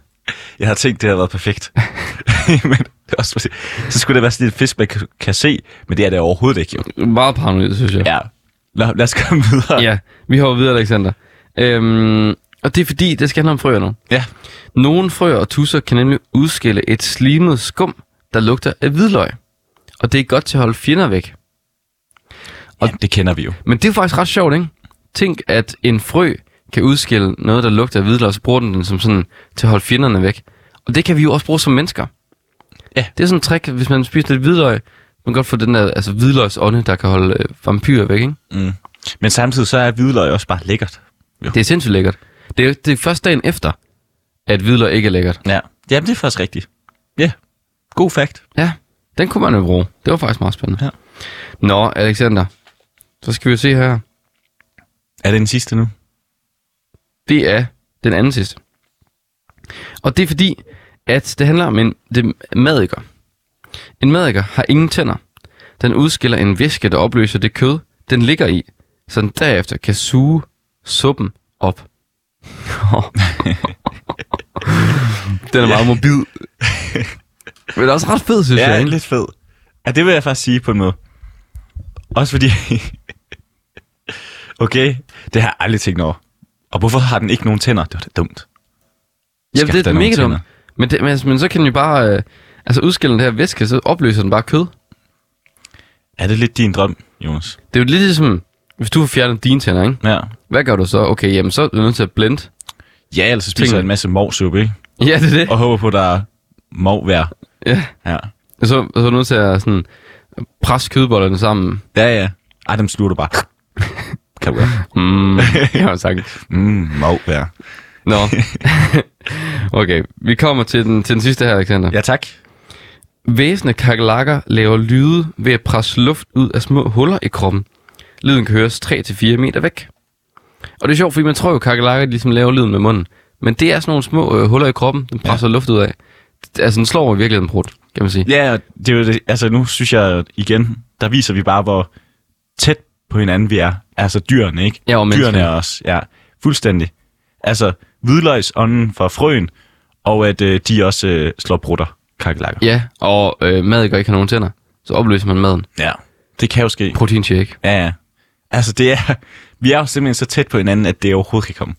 [SPEAKER 2] jeg har tænkt, det havde været perfekt. [laughs] men det er også, fordi- så skulle det være sådan en fisk, man kan- kan se, men det er det overhovedet ikke. Jo.
[SPEAKER 3] Meget paranoid, synes jeg.
[SPEAKER 2] Ja. Lad, lad os komme videre.
[SPEAKER 3] ja vi hopper videre, Alexander. Øhm, og det er fordi, det skal handle om frøer nu.
[SPEAKER 2] ja.
[SPEAKER 3] Nogle frøer og tusser kan nemlig udskille et slimet skum, der lugter af hvidløg. Og det er godt til at holde fjender væk.
[SPEAKER 2] Og det kender vi jo.
[SPEAKER 3] Men det er jo faktisk ret sjovt, ikke? Tænk, at en frø kan udskille noget, der lugter af hvidløg, og så bruger den den som sådan til at holde fjenderne væk. Og det kan vi jo også bruge som mennesker.
[SPEAKER 2] Ja.
[SPEAKER 3] Det er sådan en trick, hvis man spiser lidt hvidløg, man kan godt få den der altså, hvidløgsånde, der kan holde øh, vampyrer væk, ikke?
[SPEAKER 2] Mm. Men samtidig så er hvidløg også bare lækkert.
[SPEAKER 3] Det er sindssygt lækkert. Det er, det er først dagen efter, at hvidløg ikke er lækkert.
[SPEAKER 2] Ja. Jamen, det er faktisk rigtigt. Ja. God fakt.
[SPEAKER 3] Ja, den kunne man jo bruge. Det var faktisk meget spændende.
[SPEAKER 2] Ja.
[SPEAKER 3] Nå, Alexander. Så skal vi jo se her.
[SPEAKER 2] Er det den sidste nu?
[SPEAKER 3] Det er den anden sidste. Og det er fordi, at det handler om en det er madiker. En madiker har ingen tænder. Den udskiller en væske, der opløser det kød, den ligger i, så den derefter kan suge suppen op. [laughs] den er meget mobil. Men det er også ret fed, synes
[SPEAKER 2] Ja,
[SPEAKER 3] jeg.
[SPEAKER 2] er
[SPEAKER 3] Ikke?
[SPEAKER 2] lidt fed. Ja, det vil jeg faktisk sige på en måde. Også fordi... [laughs] okay, det har jeg aldrig tænkt over. Og hvorfor har den ikke nogen tænder? Det var da dumt.
[SPEAKER 3] Jamen,
[SPEAKER 2] Skaff
[SPEAKER 3] det er
[SPEAKER 2] dig nogle
[SPEAKER 3] mega dumt.
[SPEAKER 2] tænder.
[SPEAKER 3] Men, det, men, altså, men så kan den jo bare... Øh, altså udskille den her væske, så opløser den bare kød.
[SPEAKER 2] Er det lidt din drøm, Jonas?
[SPEAKER 3] Det er jo lidt ligesom, hvis du får fjernet dine tænder, ikke?
[SPEAKER 2] Ja.
[SPEAKER 3] Hvad gør du så? Okay, jamen så er du nødt til at blende.
[SPEAKER 2] Ja, ellers så spiser jeg en masse morsuppe, ikke?
[SPEAKER 3] [laughs] Ja, det er det.
[SPEAKER 2] Og håber på, at der er morvær.
[SPEAKER 3] Ja.
[SPEAKER 2] Ja.
[SPEAKER 3] Så, så er du nødt til at sådan, presse kødbollerne sammen.
[SPEAKER 2] Ja, ja. Ej, dem sluger du bare. [laughs] kan du godt.
[SPEAKER 3] [laughs] Mm, jeg har sagt.
[SPEAKER 2] Mm, morvær.
[SPEAKER 3] Nå. [laughs] okay, vi kommer til den, til den sidste her, Alexander. Ja.
[SPEAKER 2] Ja, tak.
[SPEAKER 3] Væsende kakelakker laver lyde ved at presse luft ud af små huller i kroppen. Lyden kan høres 3-4 meter væk. Og det er sjovt, fordi man tror jo, kakelakker de ligesom laver lyden med munden. Men det er sådan nogle små øh, huller i kroppen, den presser ja. luft ud af. Altså, den slår i virkeligheden brudt, kan man sige.
[SPEAKER 2] Ja, og det er jo det. Altså, nu synes jeg igen, der viser vi bare, hvor tæt på hinanden vi er. Altså dyrene, ikke?
[SPEAKER 3] Ja, og
[SPEAKER 2] dyrene
[SPEAKER 3] menneskene.
[SPEAKER 2] er også, ja. Fuldstændig. Altså, hvidløgsånden fra frøen, og at øh, de også øh, slår brutter, kakelakker.
[SPEAKER 3] Ja, og øh, madikker ikke har nogen tænder. Så opløser man maden.
[SPEAKER 2] Ja. Det kan jo ske.
[SPEAKER 3] Proteinshake.
[SPEAKER 2] Ja, ja. Altså, det er, [laughs] vi er jo simpelthen så tæt på hinanden, at det overhovedet kan komme.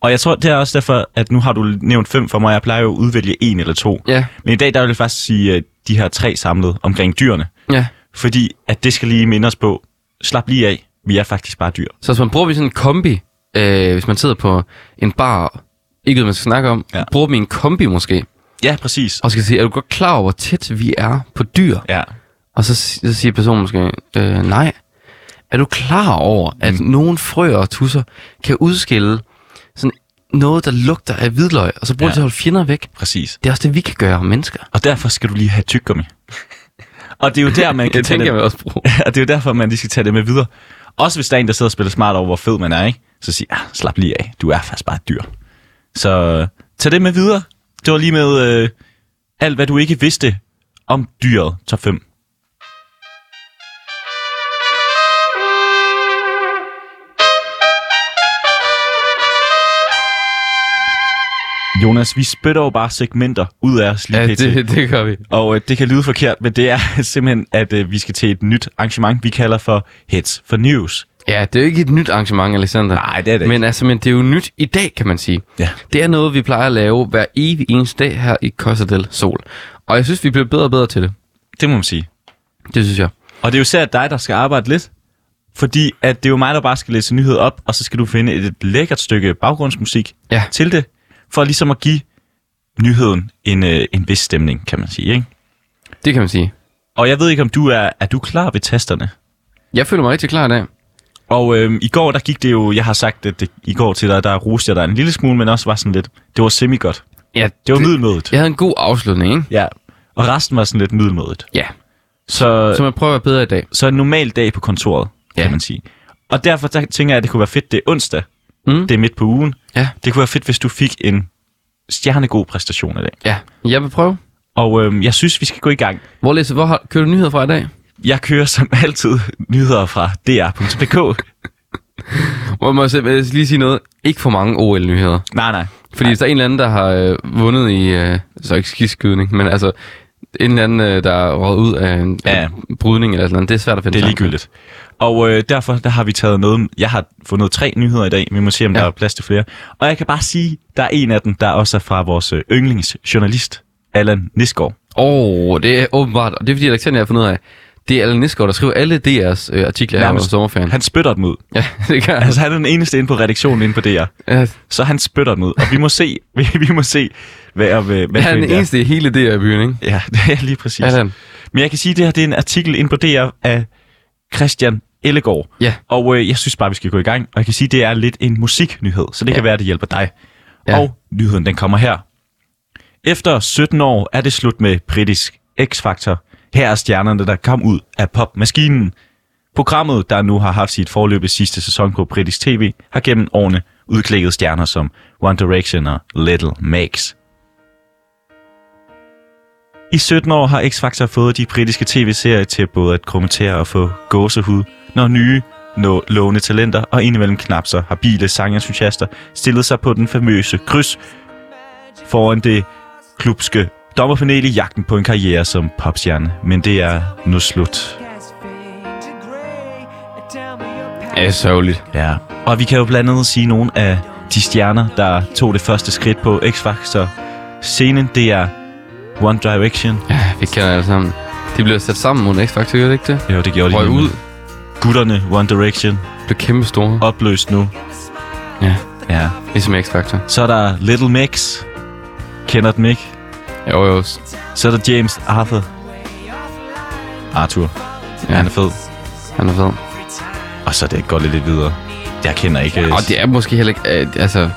[SPEAKER 2] Og jeg tror, det er også derfor, at nu har du nævnt fem for mig. Jeg plejer jo at udvælge en eller to.
[SPEAKER 3] Ja,
[SPEAKER 2] Men i dag, der vil jeg faktisk sige øh, de her tre samlet omkring dyrene.
[SPEAKER 3] ja.
[SPEAKER 2] Fordi at det skal lige minde os på, slap lige af, vi er faktisk bare dyr.
[SPEAKER 3] Så hvis man bruger sådan en kombi, øh, hvis man sidder på en bar, ikke ved, man skal snakke om, ja.
[SPEAKER 2] Ja.
[SPEAKER 3] bruger vi en kombi måske,
[SPEAKER 2] Ja, præcis.
[SPEAKER 3] og skal sige, er du godt klar over, hvor tæt vi er på dyr?
[SPEAKER 2] Ja.
[SPEAKER 3] Og så, si- så siger personen måske, øh, nej. Er du klar over, at mm. nogle frøer og tusser kan udskille sådan noget, der lugter af hvidløg, og så
[SPEAKER 2] Ja.
[SPEAKER 3] bruger ja. det til at holde fjender væk?
[SPEAKER 2] Præcis.
[SPEAKER 3] Det er også det, vi kan gøre, mennesker.
[SPEAKER 2] Og derfor skal du lige have tyggegummi. og det er jo der, man kan tage det,
[SPEAKER 3] vil også
[SPEAKER 2] [laughs]
[SPEAKER 3] bruge.
[SPEAKER 2] og det er jo derfor, man lige skal tage det med videre. Også hvis der er en, der sidder og spiller smart over, hvor fed man er, ikke? Så sig, ah, slap lige af, du er faktisk bare et dyr. Så øh, tag det med videre. Det var lige med øh, alt, hvad du ikke vidste om dyret top 5. Jonas, vi spytter jo bare segmenter ud af os lige
[SPEAKER 3] Ja,
[SPEAKER 2] pt.
[SPEAKER 3] det, det gør vi.
[SPEAKER 2] Og øh, det kan lyde forkert, men det er [laughs] simpelthen, at øh, vi skal til et nyt arrangement, vi kalder for Heads for News. øh,
[SPEAKER 3] Ja, det er jo ikke et nyt arrangement, Alexander.
[SPEAKER 2] Nej, det er det ikke.
[SPEAKER 3] Men altså, men det er jo nyt i dag, kan man sige.
[SPEAKER 2] Ja.
[SPEAKER 3] Det er noget, vi plejer at lave hver evig eneste dag her i Costa del Sol. Og jeg synes, vi bliver bedre og bedre til det.
[SPEAKER 2] Det må man sige.
[SPEAKER 3] Det synes jeg.
[SPEAKER 2] Og det er jo især dig, der skal arbejde lidt. Fordi at det er jo mig, der bare skal læse nyheder op, og så skal du finde et, et lækkert stykke baggrundsmusik
[SPEAKER 3] Ja.
[SPEAKER 2] til det, for ligesom at give nyheden en, øh, en vis stemning, kan man sige. Ikke?
[SPEAKER 3] Det kan man sige.
[SPEAKER 2] Og jeg ved ikke, om du er, er du klar ved tasterne?
[SPEAKER 3] Jeg føler mig rigtig klar i dag.
[SPEAKER 2] Og øhm, i går, der gik det jo, jeg har sagt at det, i går til dig, der roste jeg dig en lille smule, men også var sådan lidt, det var semi-godt.
[SPEAKER 3] Ja,
[SPEAKER 2] Det var middelmådet.
[SPEAKER 3] Jeg havde en god afslutning, ikke?
[SPEAKER 2] Ja. Og resten var sådan lidt middelmådet.
[SPEAKER 3] Ja.
[SPEAKER 2] Så,
[SPEAKER 3] Så man prøver at være bedre i dag.
[SPEAKER 2] så en normal dag på kontoret, ja.
[SPEAKER 3] Ja.
[SPEAKER 2] kan man sige. Og derfor der tænker jeg, at det kunne være fedt, det er onsdag.
[SPEAKER 3] Mm.
[SPEAKER 2] Det er midt på ugen.
[SPEAKER 3] Ja.
[SPEAKER 2] Det kunne være fedt, hvis du fik en stjernegod præstation i dag.
[SPEAKER 3] Ja. Jeg vil prøve.
[SPEAKER 2] Og øhm, jeg synes, vi skal gå i gang.
[SPEAKER 3] Hvor, læser, hvor har, kører du nyheder fra i dag?
[SPEAKER 2] Jeg kører som [laughs] altid nyheder fra dr.dk.
[SPEAKER 3] Hvor må jeg selv- jeg skal lige sige noget. Ikke for mange OL-nyheder.
[SPEAKER 2] nej, nej.
[SPEAKER 3] Fordi hvis der er en eller anden, der har øh, vundet i, øh, så ikke skiskydning, men altså en eller anden, øh, der er røget ud af en
[SPEAKER 2] Ja.
[SPEAKER 3] ja. brydning eller sådan noget, det er svært at finde
[SPEAKER 2] Det er
[SPEAKER 3] sammen.
[SPEAKER 2] ligegyldigt. Og øh, derfor der har vi taget noget. Jeg har fundet tre nyheder i dag. Vi må se, om ja.
[SPEAKER 3] Ja.
[SPEAKER 2] der er plads til flere. Og jeg kan bare sige, der er en af dem, der også er fra vores øh, yndlingsjournalist, Allan Nisgaard.
[SPEAKER 3] Åh, oh, det er åbenbart, og det er fordi Alexander har fundet ud af, det er Allan Nisgaard, der skriver alle DR's øh, artikler her under
[SPEAKER 2] Nærmest.
[SPEAKER 3] sommerferien.
[SPEAKER 2] Han spytter dem ud.
[SPEAKER 3] Ja, [laughs] det gør han.
[SPEAKER 2] Altså, han er den eneste inde på redaktionen inde på DR.
[SPEAKER 3] Ja,
[SPEAKER 2] Så han spytter dem ud. Og vi må se, [laughs] vi, vi må se hvad, og, hvad, hvad
[SPEAKER 3] Han er den
[SPEAKER 2] er.
[SPEAKER 3] eneste i hele DR i byen, ikke?
[SPEAKER 2] Ja, [laughs] det er lige præcis.
[SPEAKER 3] Allan.
[SPEAKER 2] Men jeg kan sige, at det her det er en artikel inde på DR af Christian Ellegaard.
[SPEAKER 3] Ja.
[SPEAKER 2] Og øh, jeg synes bare, vi skal gå i gang. Og jeg kan sige, at det er lidt en musiknyhed, så det ja. kan være, at det hjælper dig. Ja.
[SPEAKER 3] Ja.
[SPEAKER 2] Og nyheden, den kommer her. Efter 17 år er det slut med britisk X-Factor. Her er stjernerne, der kom ud af popmaskinen. Programmet, der nu har haft sit forløb sidste sæson på britisk tv, har gennem årene udklækket stjerner som One Direction og Little Mix. I 17 år har X-Factor fået de britiske tv-serier til både at kommentere og få gåsehud, når nye nå lovende talenter og indimellem knap så habile sangentusiaster stillede sig på den famøse kryds foran det klubske dommerpanel i jagten på en karriere som popstjerne. Men det er nu slut.
[SPEAKER 3] Ja, det er sørgeligt.
[SPEAKER 2] Ja. Og vi kan jo blandt andet sige nogle af de stjerner, der tog det første skridt på X-Factor. Scenen, det er One Direction.
[SPEAKER 3] Ja, vi kender alle sammen. De blev sat sammen under X-Factor, gør det ikke det?
[SPEAKER 2] Jo, det gjorde de.
[SPEAKER 3] Røg
[SPEAKER 2] nemlig.
[SPEAKER 3] ud,
[SPEAKER 2] Gutterne, One Direction.
[SPEAKER 3] blev kæmpe store.
[SPEAKER 2] Opløst nu.
[SPEAKER 3] Ja,
[SPEAKER 2] Ja.
[SPEAKER 3] ligesom X-Factor.
[SPEAKER 2] Så er der Little Mix. Kender den ikke?
[SPEAKER 3] Jo, jo.
[SPEAKER 2] Så er der James Arthur. Arthur. Ja. Han er fed.
[SPEAKER 3] Han er fed.
[SPEAKER 2] Og så er det går det lidt videre. Jeg kender ikke...
[SPEAKER 3] Og det er måske heller ikke, øh, altså,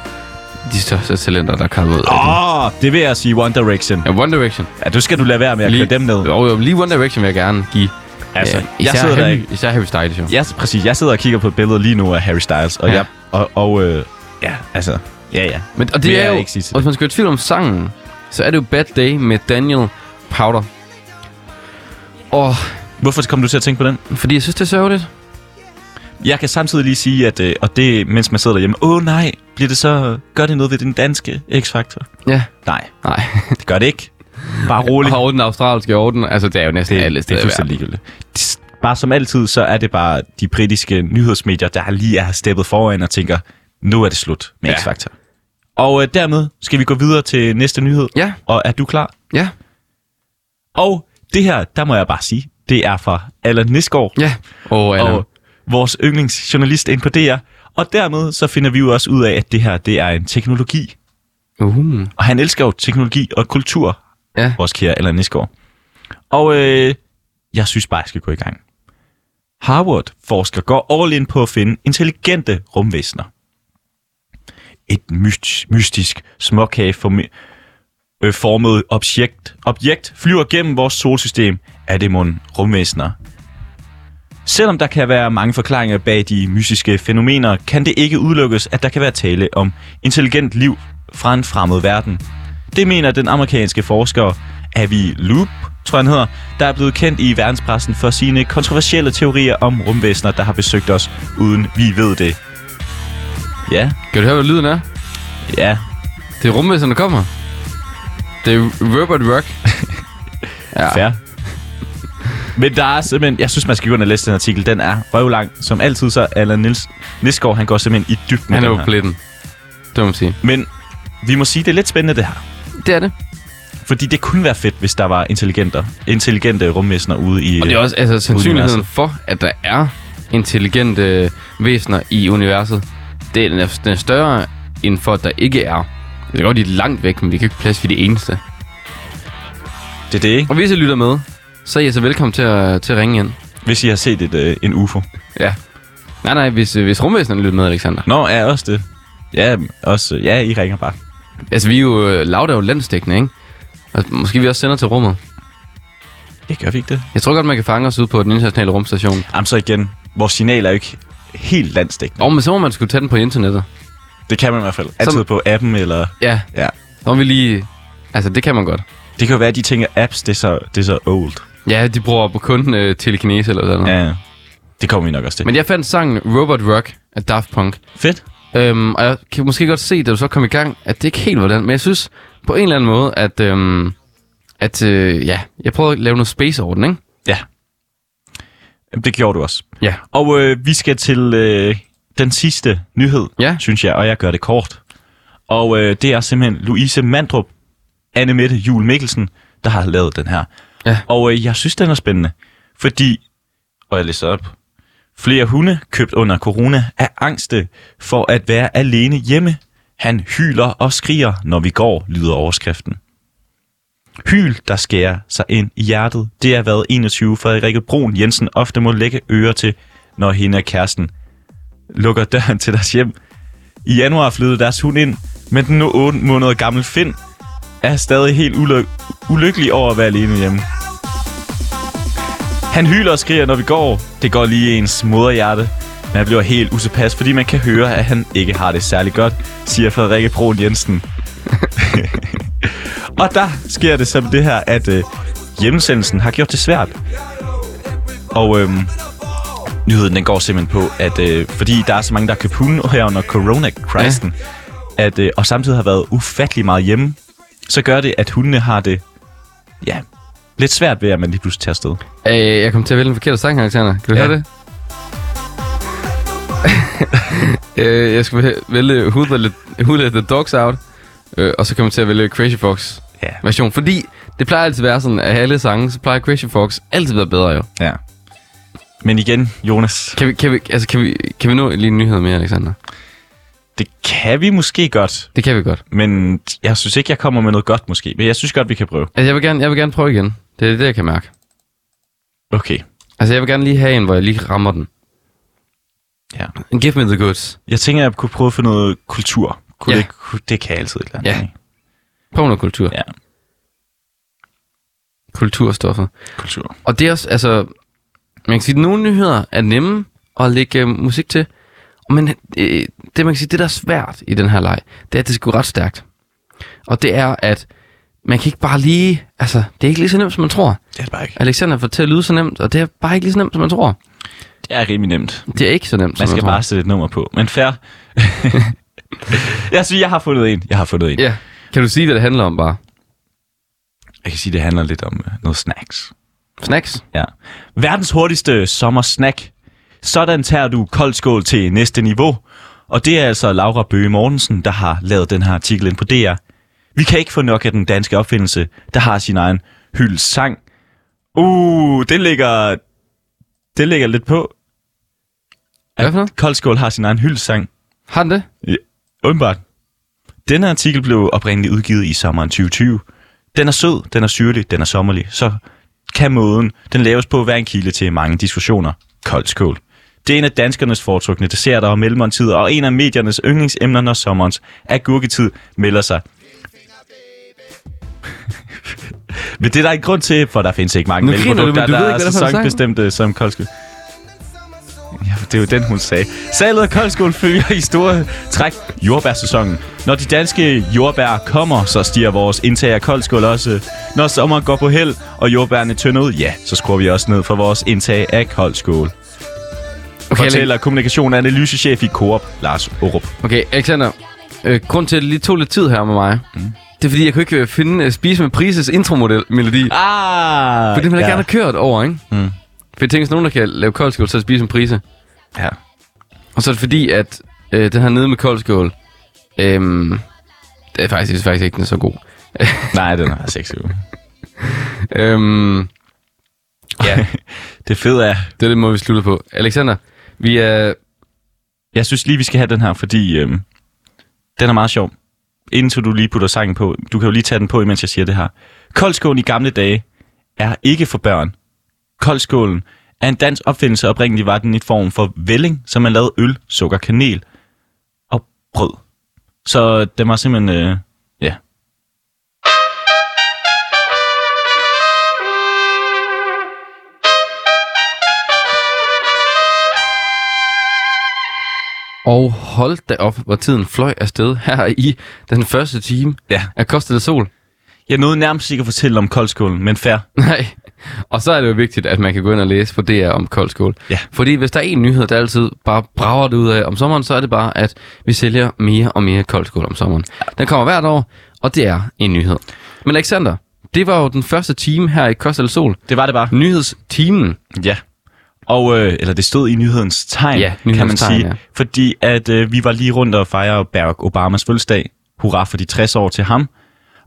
[SPEAKER 3] de største talenter, der kommer ud af det.
[SPEAKER 2] Åh, oh, det vil jeg sige One Direction.
[SPEAKER 3] Ja, One Direction.
[SPEAKER 2] Ja, du skal du lade være med at køre dem ned.
[SPEAKER 3] Jo, jo, lige One Direction vil jeg gerne give.
[SPEAKER 2] Altså,
[SPEAKER 3] Øh,
[SPEAKER 2] jeg
[SPEAKER 3] især
[SPEAKER 2] sidder der
[SPEAKER 3] Harry,
[SPEAKER 2] ikke.
[SPEAKER 3] Især Harry Styles, jo.
[SPEAKER 2] Ja, præcis. Jeg sidder og kigger på et billede lige nu af Harry Styles, og
[SPEAKER 3] Ja.
[SPEAKER 2] jeg... Og, og øh, ja, altså... Ja, ja.
[SPEAKER 3] Men, og det
[SPEAKER 2] Vil
[SPEAKER 3] er
[SPEAKER 2] jeg
[SPEAKER 3] jo,
[SPEAKER 2] ikke sige til
[SPEAKER 3] og hvis man skal være i tvivl om sangen, så er det jo Bad Day med Daniel Powder. Og
[SPEAKER 2] Hvorfor kom du til at tænke på den?
[SPEAKER 3] fordi jeg synes, det er sørgeligt.
[SPEAKER 2] Jeg kan samtidig lige sige, at... Øh, og det, mens man sidder derhjemme... Åh, oh, nej! Bliver det så... Gør det noget ved den danske X-Factor?
[SPEAKER 3] Ja,
[SPEAKER 2] Nej,
[SPEAKER 3] nej.
[SPEAKER 2] det gør det ikke. Bare rolig.
[SPEAKER 3] Og den australske [laughs] orden, altså det er jo næsten
[SPEAKER 2] Det,
[SPEAKER 3] alle
[SPEAKER 2] det
[SPEAKER 3] steder
[SPEAKER 2] er
[SPEAKER 3] i verden.
[SPEAKER 2] fuldstændig ligegyldigt. Det- Bare som altid, så er det bare de britiske nyhedsmedier, der lige er steppet foran og tænker, nu er det slut med
[SPEAKER 3] Ja.
[SPEAKER 2] X-Factor. Og øh, dermed skal vi gå videre til næste nyhed.
[SPEAKER 3] Ja.
[SPEAKER 2] Og er du klar?
[SPEAKER 3] Ja,
[SPEAKER 2] Og det her, der må jeg bare sige, det er fra Allan Nisgaard,
[SPEAKER 3] ja. Og, Allan.
[SPEAKER 2] og vores yndlingsjournalist inde på DR. Og dermed så finder vi jo også ud af, at det her, det er en teknologi.
[SPEAKER 3] Uh,
[SPEAKER 2] Og han elsker jo teknologi og kultur,
[SPEAKER 3] ja.
[SPEAKER 2] vores kære Allan Nisgaard. Og øh, jeg synes bare, jeg skal gå i gang. Harvard-forsker går all in på at finde intelligente rumvæsener. Et myst, mystisk småkage form- øh, formet objekt, objekt flyver gennem vores solsystem. Er det mon rumvæsener? Selvom der kan være mange forklaringer bag de mystiske fænomener, kan det ikke udelukkes, at der kan være tale om intelligent liv fra en fremmed verden. Det mener den amerikanske forsker Avi Loop tror jeg, han hedder, der er blevet kendt i verdenspressen for sine kontroversielle teorier om rumvæsener, der har besøgt os, uden vi ved det. Ja,
[SPEAKER 3] Kan du høre, hvad lyden er?
[SPEAKER 2] ja.
[SPEAKER 3] Det er rumvæsen, der kommer. Det er Robert Rock. ja.
[SPEAKER 2] Fair. Men der er simpelthen... Jeg synes, man skal gå ind og læse den artikel. Den er røvlang. Som altid, så Allan Nils, Nisgaard, han går simpelthen i dybden
[SPEAKER 3] Han
[SPEAKER 2] med
[SPEAKER 3] er jo
[SPEAKER 2] den her.
[SPEAKER 3] pletten. Det må man sige.
[SPEAKER 2] Men vi må sige, det er lidt spændende, det her.
[SPEAKER 3] Det er det.
[SPEAKER 2] Fordi det kunne være fedt, hvis der var intelligenter, intelligente rumvæsener ude i...
[SPEAKER 3] Og det er også altså, sandsynligheden
[SPEAKER 2] universet.
[SPEAKER 3] for, at der er intelligente øh, væsener i universet, det er, den, er, den er større end for, at der ikke er. Det er godt, de er langt væk, men vi kan ikke plads for det eneste.
[SPEAKER 2] det, er det, ikke?
[SPEAKER 3] Og hvis I lytter med, så er I så velkommen til at, til at ringe ind.
[SPEAKER 2] Hvis I har set et, øh, en UFO.
[SPEAKER 3] Ja. Nej, nej, hvis, øh, hvis rumvæsenerne lytter med, Alexander.
[SPEAKER 2] Nå, er også det. Ja, også, ja, I ringer bare.
[SPEAKER 3] Altså, vi er jo øh, lavet jo landstækkende, ikke? Og måske vi også sender til rummet.
[SPEAKER 2] Det gør vi ikke det.
[SPEAKER 3] Jeg tror godt, man kan fange os ude på den internationale rumstation.
[SPEAKER 2] Jamen så igen, vores signal er jo ikke helt landstækkende.
[SPEAKER 3] Og men så må man skulle tage den på internettet.
[SPEAKER 2] Det kan man i hvert fald. Altid
[SPEAKER 3] Som-
[SPEAKER 2] på appen, eller...
[SPEAKER 3] Ja,
[SPEAKER 2] Ja.
[SPEAKER 3] så må vi lige... Altså, det kan man godt.
[SPEAKER 2] Det kan jo være, at de tænker, apps, det er så, det er så old.
[SPEAKER 3] Ja, de bruger på kun øh, telekinese eller sådan noget.
[SPEAKER 2] Ja, det kommer vi nok også til. Men
[SPEAKER 3] Men jeg fandt sangen Robot Rock af Daft Punk.
[SPEAKER 2] fedt.
[SPEAKER 3] Øhm, og jeg kan måske godt se, da du så kom i gang, at det ikke helt var den. Men jeg synes på en eller anden måde, at, øhm, at øh, ja, jeg prøvede at lave noget space over den, ikke?
[SPEAKER 2] Ja. Jamen, Det gjorde du også.
[SPEAKER 3] Ja.
[SPEAKER 2] Og øh, vi skal til øh, den sidste nyhed,
[SPEAKER 3] Ja.
[SPEAKER 2] synes jeg, og jeg gør det kort. Og øh, det er simpelthen Louise Mandrup, Anne Mette Jul Mikkelsen, der har lavet den her.
[SPEAKER 3] Ja.
[SPEAKER 2] Og øh, jeg synes, den er spændende, fordi, og jeg læser op, flere hunde købt under corona er angste for at være alene hjemme. Han hyler og skriger, når vi går, lyder overskriften. Hyl, der skærer sig ind i hjertet, det er hvad 21 Frederikke Brun Jensen ofte må lægge øre til, når hende og kæresten lukker døren til deres hjem. I januar flyttede deres hund ind, men den nu 8 måneder gamle Finn er stadig helt ulyk- ulykkelig over at være alene hjemme. Han hyler og skriger, når vi går. Det går lige i ens moderhjerte. Man bliver helt utilpas, fordi man kan høre, at han ikke har det særlig godt, siger Frederikke Brun Jensen. Og der sker det som det her, at øh, hjemmesendelsen har gjort det svært. Og øhm, nyheden den går simpelthen på, at øh, fordi der er så mange, der har købt hunde her under corona-krisen, ja. at, øh, og samtidig har været ufattelig meget hjemme, så gør det, at hundene har det ja, lidt svært ved, at man lige pludselig tager afsted.
[SPEAKER 3] Øh, jeg kom til at vælge den forkerte sang, Alexander. Kan du
[SPEAKER 2] Ja. [laughs]
[SPEAKER 3] høre det? øh, jeg skulle væ- vælge Who Let, Who Let The Dogs Out, øh, og så kom jeg til at vælge Crazy Fox
[SPEAKER 2] Ja.
[SPEAKER 3] version. Fordi det plejer altid at være sådan, at alle sange, så plejer Crazy Fox altid at være bedre, jo.
[SPEAKER 2] ja. Men igen, Jonas,
[SPEAKER 3] Kan vi, kan vi, altså, kan vi, kan vi nå lige en nyhed mere, Alexander?
[SPEAKER 2] det kan vi måske godt,
[SPEAKER 3] Det kan vi godt.
[SPEAKER 2] men jeg synes ikke, jeg kommer med noget godt måske. Men jeg synes godt, vi kan prøve.
[SPEAKER 3] Altså, jeg vil gerne, jeg vil gerne prøve igen. Det er det, jeg kan mærke.
[SPEAKER 2] Okay.
[SPEAKER 3] Altså, jeg vil gerne lige have en, hvor jeg lige rammer den.
[SPEAKER 2] Ja.
[SPEAKER 3] Give me the goods.
[SPEAKER 2] Jeg tænker, jeg kunne prøve at finde noget kultur. Kunne
[SPEAKER 3] Ja.
[SPEAKER 2] det, ikke- kunne, det kan jeg altid et eller andet.
[SPEAKER 3] Ja.
[SPEAKER 2] ikke?
[SPEAKER 3] Prøv noget kultur.
[SPEAKER 2] ja.
[SPEAKER 3] Kulturstoffet.
[SPEAKER 2] Kultur.
[SPEAKER 3] Og det er også, altså... Man kan sige, at nogle nyheder er nemme at lægge øh, musik til. Men øh, det, man kan sige, det der er svært i den her leg, det er, at det skal gå ret stærkt. Og det er, at man kan ikke bare lige... Altså, det er ikke lige så nemt, som man tror.
[SPEAKER 2] Det er det bare ikke.
[SPEAKER 3] Alexander får det til at lyde så nemt, og det er bare ikke lige så nemt, som man tror.
[SPEAKER 2] Det er rimelig nemt.
[SPEAKER 3] Det er ikke så nemt, som
[SPEAKER 2] Man
[SPEAKER 3] man,
[SPEAKER 2] skal
[SPEAKER 3] tror.
[SPEAKER 2] bare sætte et nummer på. Men fair. jeg synes, jeg har fundet en. Jeg har fundet en.
[SPEAKER 3] Ja. Kan du sige, hvad det handler om bare?
[SPEAKER 2] Jeg kan sige, det handler lidt om øh, noget snacks.
[SPEAKER 3] Snacks?
[SPEAKER 2] Ja. Verdens hurtigste sommersnack. Sådan tager du koldskål til næste niveau. Og det er altså Laura Bøge Mortensen, der har lavet den her artikel ind på DR. Vi kan ikke få nok af den danske opfindelse, der har sin egen hyldesang. Uh, det ligger, det ligger lidt på.
[SPEAKER 3] Hvad for noget?
[SPEAKER 2] Koldskål har sin egen hyldesang.
[SPEAKER 3] Har den det?
[SPEAKER 2] Ja, åbenbart. Denne artikel blev oprindeligt udgivet i sommeren 2020. Den er sød, den er syrlig, den er sommerlig. Så kan måden, den laves på at være en kilde til mange diskussioner. Kold skål. Det er en af danskernes foretrukne desserter og mellemmåltider, og en af mediernes yndlingsemner, når sommerens agurketid melder sig. [laughs] Men det er der en grund til, for der findes ikke mange
[SPEAKER 3] Nu griner du, men
[SPEAKER 2] mælkeprodukter,
[SPEAKER 3] du ved
[SPEAKER 2] der
[SPEAKER 3] ikke,
[SPEAKER 2] er
[SPEAKER 3] hvad det er for en sang.
[SPEAKER 2] sæsonbestemte som koldskål. Jeg, det er jo den, hun sagde. Salget af koldskål følger i store træk jordbærsæsonen. Når de danske jordbær kommer, så stiger vores indtag af koldskål også. Når sommeren går på held, og jordbærne tynder ud, ja, så skruer vi også ned for vores indtag af koldskål.
[SPEAKER 3] Okay,
[SPEAKER 2] Okay, Fortæller kommunikation og analysechef i Coop, Lars Orup.
[SPEAKER 3] Okay, Alexander. Øh, grund til, at det lige tog lidt tid her med mig, mm. det er fordi, jeg kunne ikke øh, finde uh, Spise med Prises intromelodi. Ah,
[SPEAKER 2] Ah!
[SPEAKER 3] for det ville jeg
[SPEAKER 2] ja.
[SPEAKER 3] gerne have kørt over, ikke? Mm. For jeg tænker, hvis nogen, der kan lave koldskål, så er det Spise med Prise.
[SPEAKER 2] Ja.
[SPEAKER 3] Og så er det fordi, at øh, den her nede med koldskål, øhm, det er faktisk, jeg synes faktisk ikke, den er så god.
[SPEAKER 2] Nej, den er altså sexy.
[SPEAKER 3] Øhm,
[SPEAKER 2] ja, det fede er,
[SPEAKER 3] det er det, må vi slutte på. Alexander, vi er...
[SPEAKER 2] Jeg synes lige, vi skal have den her, fordi øhm, den er meget sjov. Indtil du lige putter sangen på. Du kan jo lige tage den på, imens jeg siger det her. Koldskålen i gamle dage er ikke for børn. Koldskålen er en dansk opfindelse, og oprindeligt var den i form for velling, som man lavede øl, sukker, kanel og brød. Så den var simpelthen... Øh, ja.
[SPEAKER 3] Og hold da op, hvor tiden fløj afsted her i den første time
[SPEAKER 2] ja.
[SPEAKER 3] af Kost eller Sol. [laughs]
[SPEAKER 2] Jeg nåede nærmest ikke at fortælle om koldskålen, men fair.
[SPEAKER 3] Nej. Og så er det jo vigtigt, at man kan gå ind og læse på DR om koldskål.
[SPEAKER 2] Ja.
[SPEAKER 3] Fordi hvis der er en nyhed, der altid bare brager det ud af om sommeren, så er det bare, at vi sælger mere og mere koldskål om sommeren. Den kommer hvert år, og det er en nyhed. Men Alexander, det var jo den første time her i Kost eller Sol.
[SPEAKER 2] Det var det bare.
[SPEAKER 3] Nyhedstimen.
[SPEAKER 2] Ja. Og, øh, eller det stod i nyhedens tegn,
[SPEAKER 3] Ja,
[SPEAKER 2] ja,
[SPEAKER 3] nyhedens
[SPEAKER 2] kan man
[SPEAKER 3] tegn,
[SPEAKER 2] sige.
[SPEAKER 3] ja.
[SPEAKER 2] Fordi at øh, vi var lige rundt og fejrede Barack Obamas fødselsdag. Hurra for de 60 år til ham.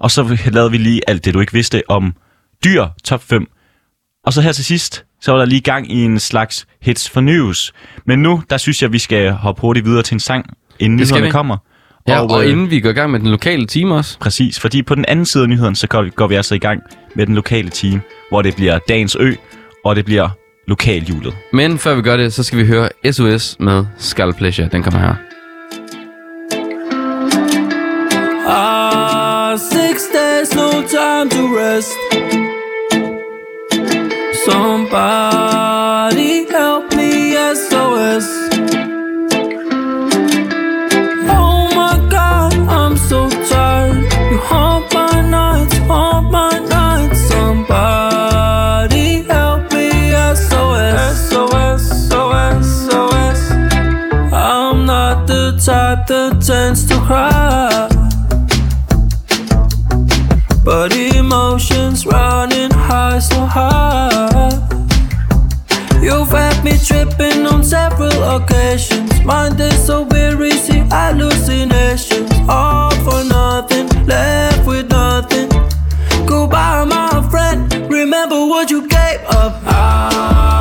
[SPEAKER 2] Og så lavede vi lige alt det, du ikke vidste om dyr top 5. Og så her til sidst, så var der lige gang i en slags hits for news. Men nu, der synes jeg, vi skal hoppe hurtigt videre til en sang, inden
[SPEAKER 3] Det skal
[SPEAKER 2] nyhederne
[SPEAKER 3] vi.
[SPEAKER 2] kommer.
[SPEAKER 3] Ja, og, og
[SPEAKER 2] øh,
[SPEAKER 3] inden vi går i gang med den lokale time også.
[SPEAKER 2] Præcis, fordi på den anden side af nyheden, så går, går vi altså i gang med den lokale team, hvor det bliver dagens ø, og det bliver lokalhjulet.
[SPEAKER 3] Men før vi gør det, så skal vi høre SOS med Skull Pleasure. Den kommer her.
[SPEAKER 5] Ah, six days, no time to rest. Somebody help me, SOS. Oh my god, I'm so tired. You haunt my nights, haunt my nights. Somebody help me, SOS. SOS, SOS, SOS. I'm not the type that tends to cry. But emotions running high, so high. You've had me tripping on several occasions. Mind is so weary, see hallucinations. All for nothing, left with nothing. Goodbye, my friend. Remember what you gave up. Ah, I Oh,